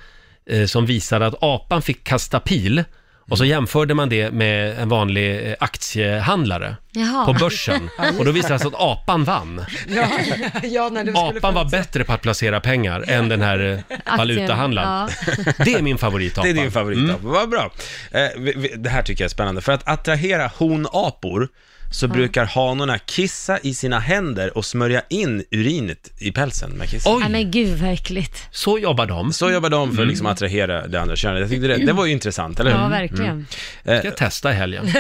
eh, som visade att apan fick kasta pil och så jämförde man det med en vanlig eh, aktiehandlare Jaha. på börsen. *laughs* Ja, just Och då visade det det. sig att apan vann. Ja, ja, när du skulle Apan var bättre på att placera pengar än den här eh, valutahandlaren. Det är min Mm. favoritapa. Det är din favoritapa, vad bra. Eh, vi, vi, det här tycker jag är spännande. För att attrahera honapor så Mm. Ja. brukar hanorna kissa i sina händer och smörja in urinet i pälsen med kissen. Nej, men gud vad äckligt. Så jobbar de. Mm. Så jobbar de för att liksom attrahera det andra könet. Jag tyckte det, det var ju intressant, eller hur? Ja, verkligen. Mm. Ska jag testa i helgen? *laughs*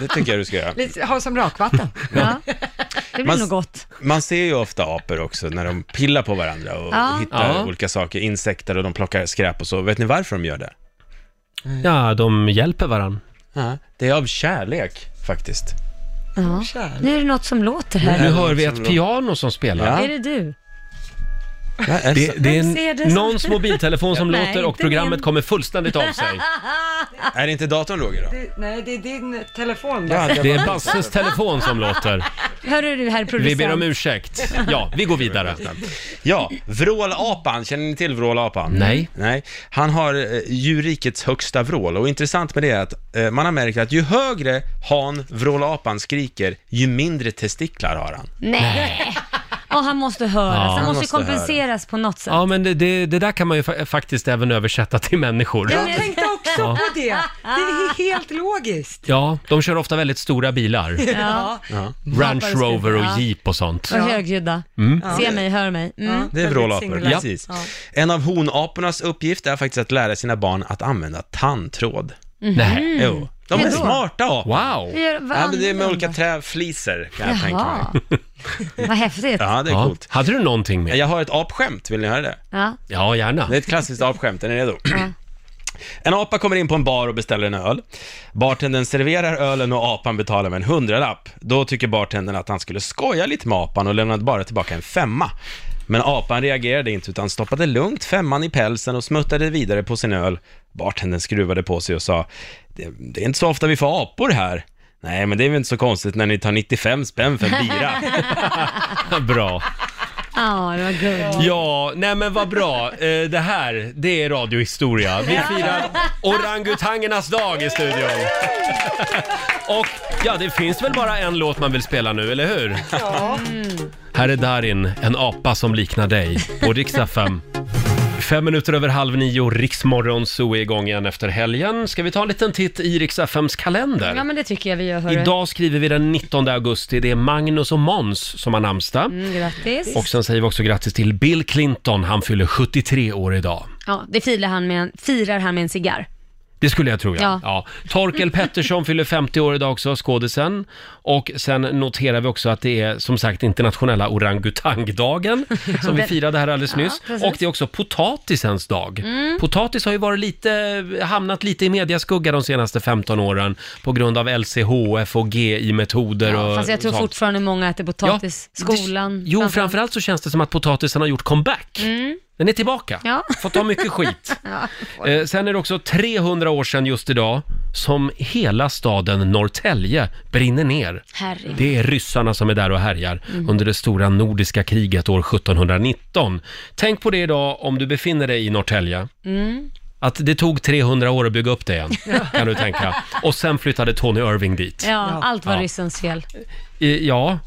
Det tycker jag du ska mm. göra. Lite, ha som rakvatten. Ja. Det blir Man- nog gott. Man ser ju ofta apor också när de pillar på varandra och Ja. hittar Ja. olika saker, insekter och de plockar skräp och så. Vet ni varför de gör det? Mm. Ja, de hjälper varandra. Det är av kärlek faktiskt. Ja. Nu är det något som låter här. Nu hör vi ett piano som spelar. Är det du? Det, det är Vem ser det en, som- någons mobiltelefon som *laughs* Nej, låter och inte programmet min. kommer fullständigt av sig. *laughs* Är det inte datorn låg i då? Det, nej, det är din telefon. Det är Basses telefon som låter. Hörru du herr producent. Vi ber om ursäkt. Ja, vi går vidare. Ja, vrålapan, känner ni till vrålapan? Nej. Nej. Han har eh, djurrikets högsta vrål och intressant med det är att eh, man har märkt att ju högre han, vrålapan, skriker, ju mindre testiklar har han. Nej. Och han måste höras, Ja, han han måste, måste kompenseras på något sätt. Ja, men det, det, det där kan man ju fa- faktiskt även översätta till människor. Jag tänkte också Ja. på det. Det är helt logiskt. Ja, de kör ofta väldigt stora bilar. Ja. Ja. Range Rover Ja. och Jeep och sånt. Och högljudda. Mm. Se mig, hör mig. Mm. Det är vrålapor, singulärt. precis. Ja. En av honapornas uppgift är faktiskt att lära sina barn att använda tandtråd. Mhm. Nej. Jo. De Hur är då? smarta apor. Wow. Hur gör- vad ja, men det är använder med de olika träfliser, kan jag tänka mig. Jaha, vad häftigt. Ja, det är coolt. Hade du någonting med? Jag har ett apskämt, vill ni höra det? Ja. Ja, gärna. Det är ett klassiskt apskämt, är ni redo? *clears throat* Ja. En apa kommer in på en bar och beställer en öl. Bartendern serverar ölen och apan betalar med en hundralapp. Då tycker bartendern att han skulle skoja lite med apan och lämnade bara tillbaka en femma. Men apan reagerade inte utan stoppade lugnt femman i pälsen och smuttade vidare på sin öl. Bartendern skruvade på sig och sa det, det är inte så ofta vi får apor här. Nej, men det är väl inte så konstigt när ni tar 95 spänn för en *laughs* bira. Bra. Ja, det var gulligt. Ja, nej men vad bra. Eh, Det här, det är radiohistoria. Vi firar orangutangernas dag i *laughs* studion. Och ja, det finns väl bara en låt man vill spela nu, eller hur? Mm. Här är Darin, en apa som liknar dig, på riksdag 5. Fem minuter över halv nio, Riksmorgon Zoo är igång igen efter helgen. Ska vi ta en liten titt i riksdag 5s kalender? Ja, men det tycker jag vi gör, hörru. Idag skriver vi den 19 augusti. Det är Magnus och Måns som har namnsdag. Mm, grattis. Och sen säger vi också grattis till Bill Clinton. Han fyller 73 år idag. Ja, det firar han med en, firar han med en cigarr. Det skulle jag tro, ja. Ja. ja. Torkel *laughs* Pettersson fyller 50 år idag också, skådisen. Och sen noterar vi också att det är som sagt internationella *laughs* orangutangdagen som vi Den- firade här alldeles Ja, nyss. precis. Och det är också potatisens dag. Mm. Potatis har ju varit lite, hamnat lite i mediaskugga de senaste 15 åren på grund av LCHF och GI-metoder och Fast jag tror sånt. fortfarande många äter potatis. Skolan. Jo, framförallt så känns det som att potatisen har gjort comeback. Mm. Den är tillbaka. Ja. Fått ta mycket skit. *laughs* Ja. Eh, sen är det också 300 år sedan just idag som hela staden Norrtälje brinner ner. Herregud. Det är ryssarna som är där och härjar Mm. under det stora nordiska kriget år 1719. Tänk på det idag om du befinner dig i Norrtälje. Mm. Att det tog 300 år att bygga upp det igen, *laughs* Ja. kan du tänka. Och sen flyttade Tony Irving dit. Ja, allt var Ja. ryssens fel. I- Ja,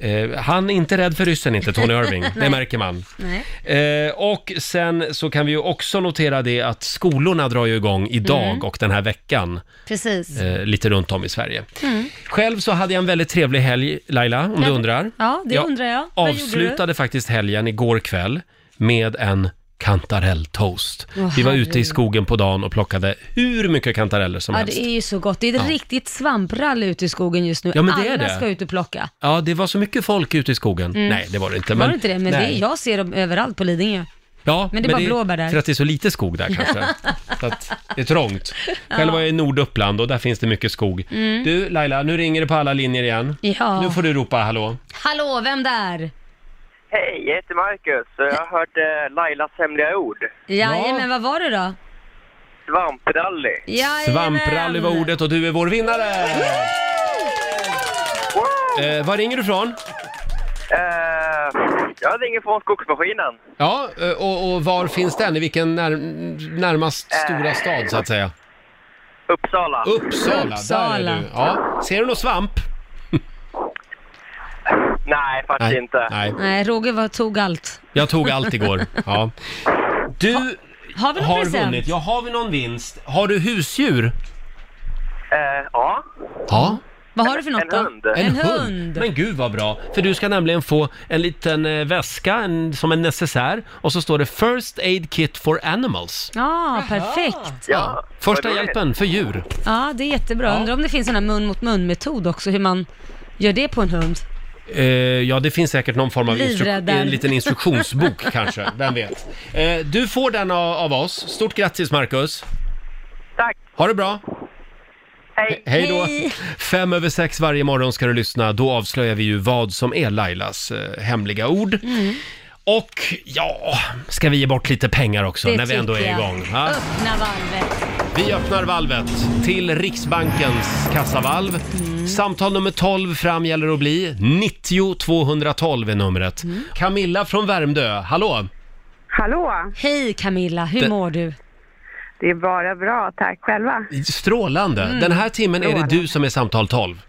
eh, han är inte rädd för ryssen inte, Tony *laughs* Irving. Det Nej. märker man. Nej. Eh, och sen så kan vi ju också notera det att skolorna drar ju igång idag Mm. och den här veckan. Precis. Eh, lite runt om i Sverige. Mm. Själv så hade jag en väldigt trevlig helg, Laila, om Ja, du undrar. Ja, det undrar jag. Vad gjorde du? Avslutade faktiskt helgen igår kväll med en kantarelltoast. Åh, vi var ute i herregud. skogen på dagen och plockade hur mycket kantareller som Ja, helst. det är ju så gott. Det är ett Ja. riktigt svamprally ute i skogen just nu. Ja, men det är Alla det. ska ut och plocka. Ja, det var så mycket folk ute i skogen. Mm. Nej, det var det inte. Var det inte det? Men det, nej. jag ser dem överallt på Lidingö. Ja, Men det är bara blåbär där. För att det är så lite skog där *laughs* kanske. så att det är trångt. Själv Ja. var jag i Norduppland och där finns det mycket skog. Mm. Du Laila, nu ringer det på alla linjer igen. Ja. Nu får du ropa hallå. Hallå, vem där? Hej, jag heter Marcus. Jag har hört eh, Lailas hemliga ord. Jajamän, vad var det då? Svamprally. Jajamän. Svamprally var ordet och du är vår vinnare! Eh, var ringer du ifrån? Eh, jag ringer från skogsmaskinen. Ja, eh, och, och var finns den? I vilken när, närmast stora stad så att säga? Uppsala. Uppsala, där är du. Ja. Ser du någon svamp? Nej, faktiskt Nej, inte. nej. Nej, Roger var, tog allt. Jag tog allt igår. Ja. Du Har vi någon har present? vunnit. Ja, har vi någon vinst? Har du husdjur? Eh, ja. Ja. Vad har du för något då? En, En hund. hund. Men gud vad bra. För du ska nämligen få en liten eh, väska en, som en necessär och så står det First Aid Kit for Animals. Ja, perfekt. Ja. Första hjälpen för djur. Ja, det är jättebra. Undrar om det finns en här mun mot mun-metod också, hur man gör det på en hund. Eh, ja, det finns säkert någon form av instru- Livräddaren. en liten *laughs* instruktionsbok kanske. Vem vet? Eh, du får den av, av oss. Stort grattis Marcus. Tack. Ha det bra. Hej. Hej då! Fem över sex varje morgon ska du lyssna. Då avslöjar vi ju vad som är Lailas eh, hemliga ord. *laughs* Och ja, ska vi ge bort lite pengar också Det när vi ändå tycker är jag. igång? va? Öppna valvet. Vi öppnar valvet till Riksbankens kassavalv. Samtal nummer 12 fram gäller att bli. 90 212 är numret. Camilla från Värmdö, hallå! Hallå! Hej Camilla, hur Det- mår du? Det är bara bra, tack själva. Strålande! Mm. Den här timmen är det Strålande. du som är samtal 12.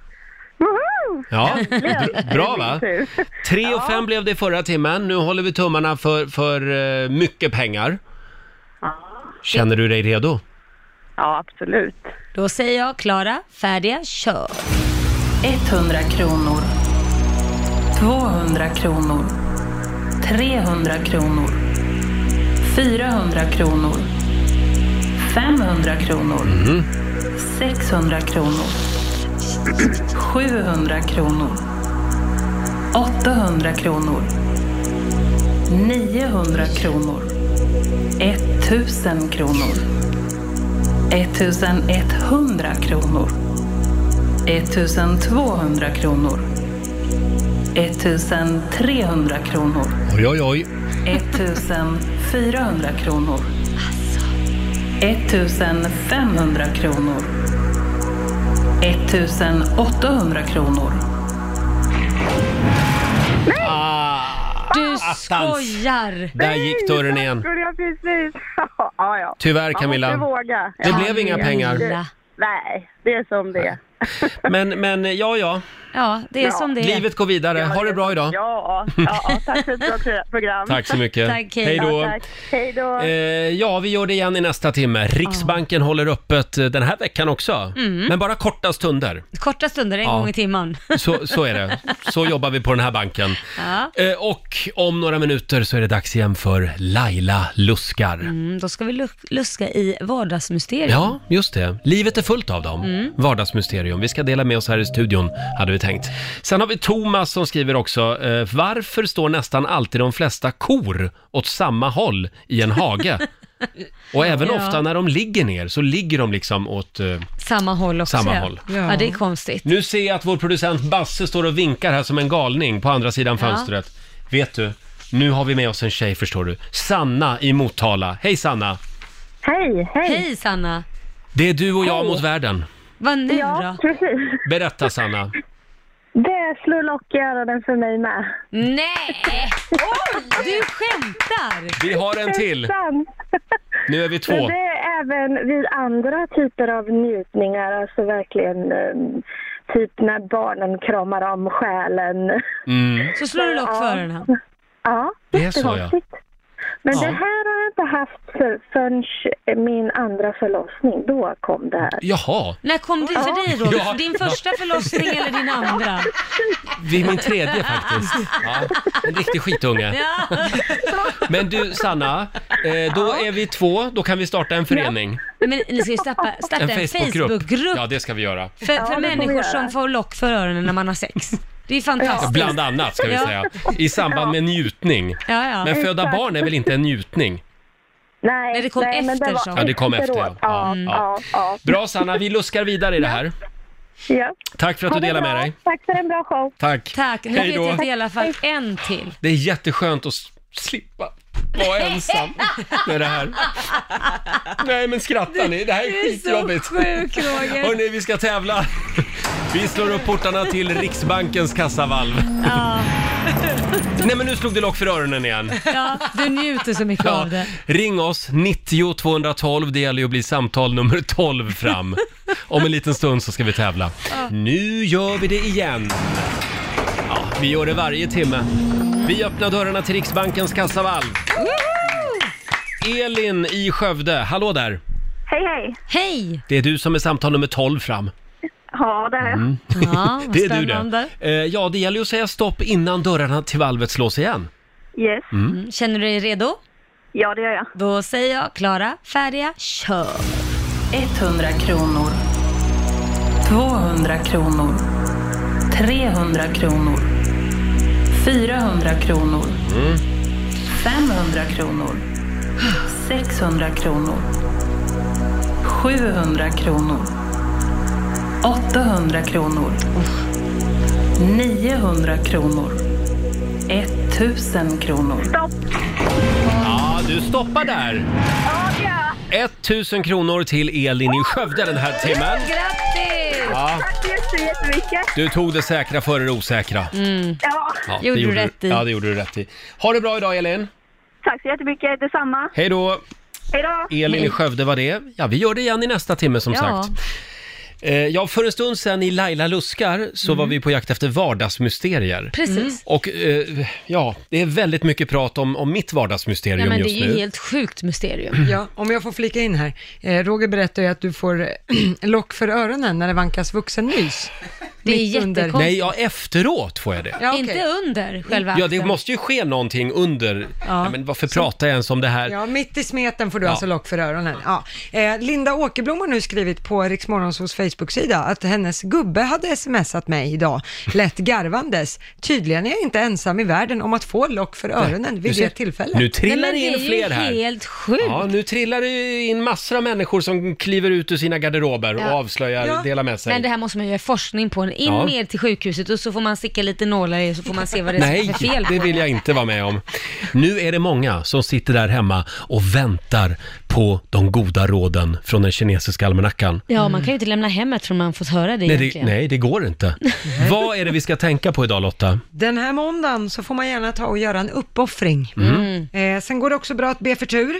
Woho! Ja, Äntligen! bra va? Det är min tur. 3 och 5 blev det i förra timmen. Nu håller vi tummarna för, för eh, mycket pengar. Känner du dig redo? Ja, absolut. Då säger jag klara, färdiga, kör! 100 kronor. 200 kronor. 300 kronor. 400 kronor. 500 kronor. 600 kronor. 700 kronor. 800 kronor. 900 kronor. 1000 kronor. 1100 kronor. 1200 kronor. 1300 kronor. Oj, oj, oj. 1400 kronor. 1500 kronor. 1800 kronor. Du Attans. skojar! Där gick dörren igen. Skulle jag precis... *laughs* ja, ja. Tyvärr, Camilla. Man måste våga. Det blev inga pengar. Det- Nej, det är som det är. Men, men eh, ja, ja. Ja, det är som det är. Livet går vidare. Ha det bra idag. Ja, ja, ja, tack för ett bra pro- program. Tack så mycket. Tack, hej. Hej då. Ja, tack. Hej då. Eh, ja, vi gör det igen i nästa timme. Riksbanken håller öppet eh, den här veckan också. Mm. Men bara korta stunder. Korta stunder, en Ja. gång i timmen. *laughs* Så, så är det. Så jobbar vi på den här banken. Ja. Eh, och om några minuter så är det dags igen för Laila luskar. Mm, då ska vi lu- luska i vardagsmysterier. Ja, just det. Livet är fullt av dem. Mm. Vardagsmysterium. Vi ska dela med oss här i studion, hade vi tänkt. Sen har vi Thomas som skriver också, eh, varför står nästan alltid de flesta kor åt samma håll i en *laughs* hage? Och även Ja. ofta när de ligger ner så ligger de liksom åt... Eh... Samma håll också. Samma ja. håll. Ja. det är konstigt. Nu ser jag att vår producent Basse står och vinkar här som en galning på andra sidan Ja. fönstret. Vet du, nu har vi med oss en tjej förstår du. Sanna i Motala. Hej Sanna! Hej, hej! Hej Sanna! Det är du och jag mot världen. Vad nu då? Precis. Berätta Sanna. Det slår lock i öronen för mig med. Nej! Oj, du skämtar! Vi har en till. Det är sant. Nu är vi Men två. det är även vid andra typer av njutningar, alltså verkligen eh, typ när barnen kramar om själen. Mm. Så slår du lock Ja. för öronen? Ja, Det är så, ja. jättekonstigt. Men Ja. det här har jag inte haft för, förrän min andra förlossning. Då kom det här. Jaha, När kom det för Ja. dig Roger? Ja. Din första förlossning eller din andra? vid min tredje faktiskt. Ja, en riktig skitunge. Ja. Men du Sanna, eh, då är vi två, då kan vi starta en förening. *laughs* Men ni ska ju starta, starta en, Facebookgrupp Ja, det ska vi göra. för, Ja, det för får vi människor göra. som får lock för öronen när man har sex. Det är fantastiskt. Bland annat ska vi Ja. säga. I samband med njutning. Ja, ja. Men föda Exakt. barn är väl inte en njutning? Nej, Nej, det kom nej, men efter, det var sa Ja, det kom efter, ja. efteråt. Ja, Mm. ja, ja. *laughs* Bra Sanna, vi luskar vidare i det här. Ja. Tack för att Ha du det delar bra. med dig. Tack för en bra show. Tack. Tack, nu Hej vet då. jag det i alla fall en till. Det är jätteskönt att s- slippa vara ensam med det här. Nej men skrattar ni? Det här är Du är så skitjobbigt. sjuk, Roger. Hörni, vi ska tävla. Vi slår upp portarna till Riksbankens kassavalv. *laughs* Ja. Nej men nu slog det lock för öronen igen. ja, du njuter så mycket av det. Ring oss, 90 212. Det gäller ju att bli samtal nummer 12 fram. Om en liten stund så ska vi tävla. Nu gör vi det igen. Ja, vi gör det varje timme. Vi öppnar dörrarna till Riksbankens kassavalv. Elin i Skövde, hallå där! Hej, hej. Hej! Det är du som är samtal nummer 12 fram. Mm. Ja, det är jag. Ja, *laughs* vad det är du spännande. det. Eh, ja, det gäller ju att säga stopp innan dörrarna till valvet slås igen. Yes. Mm. Känner du dig redo? Ja, det gör jag. Då säger jag klara, färdiga, kör! 100 kronor. 200 kronor. 300 kronor. 400 kronor. Mm. 500 kronor. 600 kronor. 700 kronor. 800 kronor. 900 kronor. 1000 kronor. Ja, du stoppar där. Ja, 1000 kronor till Elin i Skövde den här timmen. Grattis! Ja. Tack så jätte- jättemycket. Du tog det säkra före det osäkra. Mm. Ja, Ja, det Ja, det gjorde du rätt i. Ha det bra idag Elin. Tack så jättemycket, detsamma. Hej då! Hej då. Elin i Skövde var det. Ja, vi gör det igen i nästa timme som Ja. sagt. Eh, Ja, för en stund sedan i Laila luskar så var vi på jakt efter vardagsmysterier. Mm. Precis. Mm. Och eh, ja, det är väldigt mycket prat om, om mitt vardagsmysterium Nej, men det just är ju nu. helt sjukt mysterium. Ja, om jag får flika in här. Eh, Roger berättar ju att du får eh, *clears throat* lock för öronen när det vankas vuxennys. Det är Mitt under- jättekonstigt. Nej, ja, efteråt får jag det. Ja, okej. Inte under själva Ja, det akten. måste ju ske någonting under. Ja. Ja. men varför pratar jag ens om det här? Ja, mitt i smeten får du Ja. alltså lock för öronen. Ja. Eh, Linda Åkerblom har nu skrivit på Riksmorgonsols Facebook-sida att hennes gubbe hade smsat mig idag, lätt garvandes. Tydligen är jag inte ensam i världen om att få lock för öronen Du vid ser- det tillfället. Nu trillar Nej, men det in det är ju fler här. helt sjukt. Ja, nu trillar det ju in massor av människor som kliver ut ur sina garderober Ja. och avslöjar, Ja. delar med sig. Men det här måste man göra forskning på. In Ja. ner till sjukhuset och så får man sticka lite nålar i och så får man se vad det är Nej, för fel på det vill jag inte vara med om. Nu är det många som sitter där hemma och väntar på de goda råden från den kinesiska almanackan. Ja, man kan ju inte lämna hemmet förrän man fått höra det nej, det, egentligen. nej, det går *laughs* inte. Vad är det vi ska tänka på idag Lotta? Den här måndagen så får man gärna ta och göra en uppoffring. Mm. Eh, sen går det också bra att be för tur.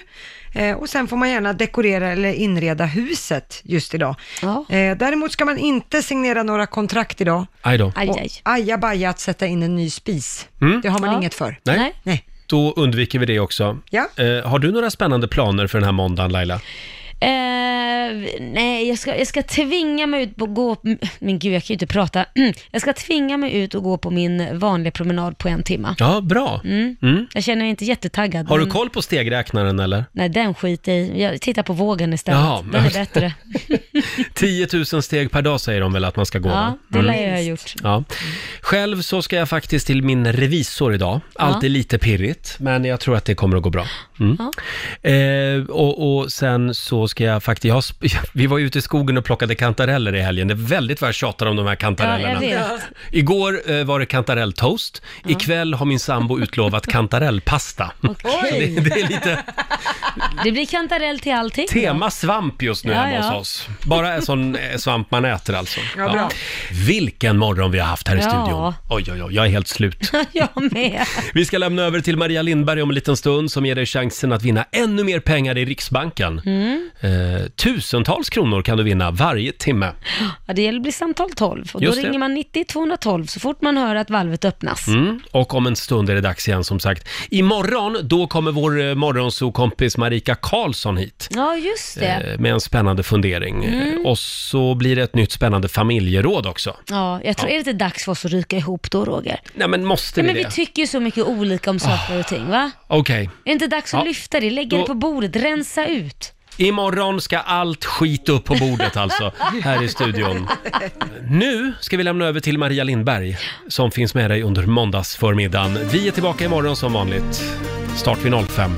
Eh, och sen får man gärna dekorera eller inreda huset just idag. Eh, däremot ska man inte signera några kontrakt idag. Aj då. Och ajabaja att sätta in en ny spis. Mm. Det har man inget för. Nej. Nej. Då undviker vi det också. Ja. Eh, har du några spännande planer för den här måndagen Laila? Eh, nej, jag ska, jag ska tvinga mig ut på gå... Men gud, jag kan ju inte prata. *clears throat* Jag ska tvinga mig ut och gå på min vanliga promenad på en timme. Ja, bra. Mm. Mm. Jag känner mig inte jättetaggad. Har du men- koll på stegräknaren eller? Nej, den skiter jag i. Jag tittar på vågen istället. Jaha. Den är *laughs* bättre. 10 000 steg per dag säger de väl att man ska gå? va? Ja, det Mm. lär jag ha gjort. Ja. Själv så ska jag faktiskt till min revisor idag. Alltid Ja. lite pirrigt, men jag tror att det kommer att gå bra. Mm. Eh, och, och sen så ska jag faktiskt, jag har, sp- *laughs* vi var ute i skogen och plockade kantareller i helgen. Det är väldigt vad jag tjatar om de här kantarellerna. Ja, jag vet. Igår eh, var det kantarelltoast. Ikväll har min sambo utlovat kantarellpasta. *laughs* Så det, det är lite Det blir kantarell till allting. tema svamp just nu Ja, hemma ja. hos oss. Bara en sån eh, svamp man äter alltså. Ja, bra. Vilken morgon vi har haft här i Ja. studion. Oj, oj, oj, jag är helt slut. *laughs* jag med. Vi ska lämna över till Maria Lindberg om en liten stund som ger dig chansen att vinna ännu mer pengar i Riksbanken. Mm. Eh, tusentals kronor kan du vinna varje timme. Ja, det gäller att bli samtal 12 och då Just det. ringer man 90 212 så fort man hör att valvet öppnas. Mm. Och om en stund är det dags igen som sagt. Imorgon, då kommer vår eh, morgonsokompis Marika Karlsson hit. Ja, just det. eh, Med en spännande fundering. Mm. Eh, Och så blir det ett nytt spännande familjeråd också. Ja, jag tror, Ja. är det inte dags för oss att ryka ihop då, Roger? Nej men måste Nej, vi men vi det? tycker ju så mycket olika om saker och ting, va? Okej. Är det inte dags att Ja. lyfta det, lägga Då- det på bordet, rensa ut? Imorgon ska allt skit upp på bordet alltså, här i studion. Nu ska vi lämna över till Maria Lindberg som finns med dig under måndagsförmiddagen. Vi är tillbaka imorgon som vanligt. Start vid 05.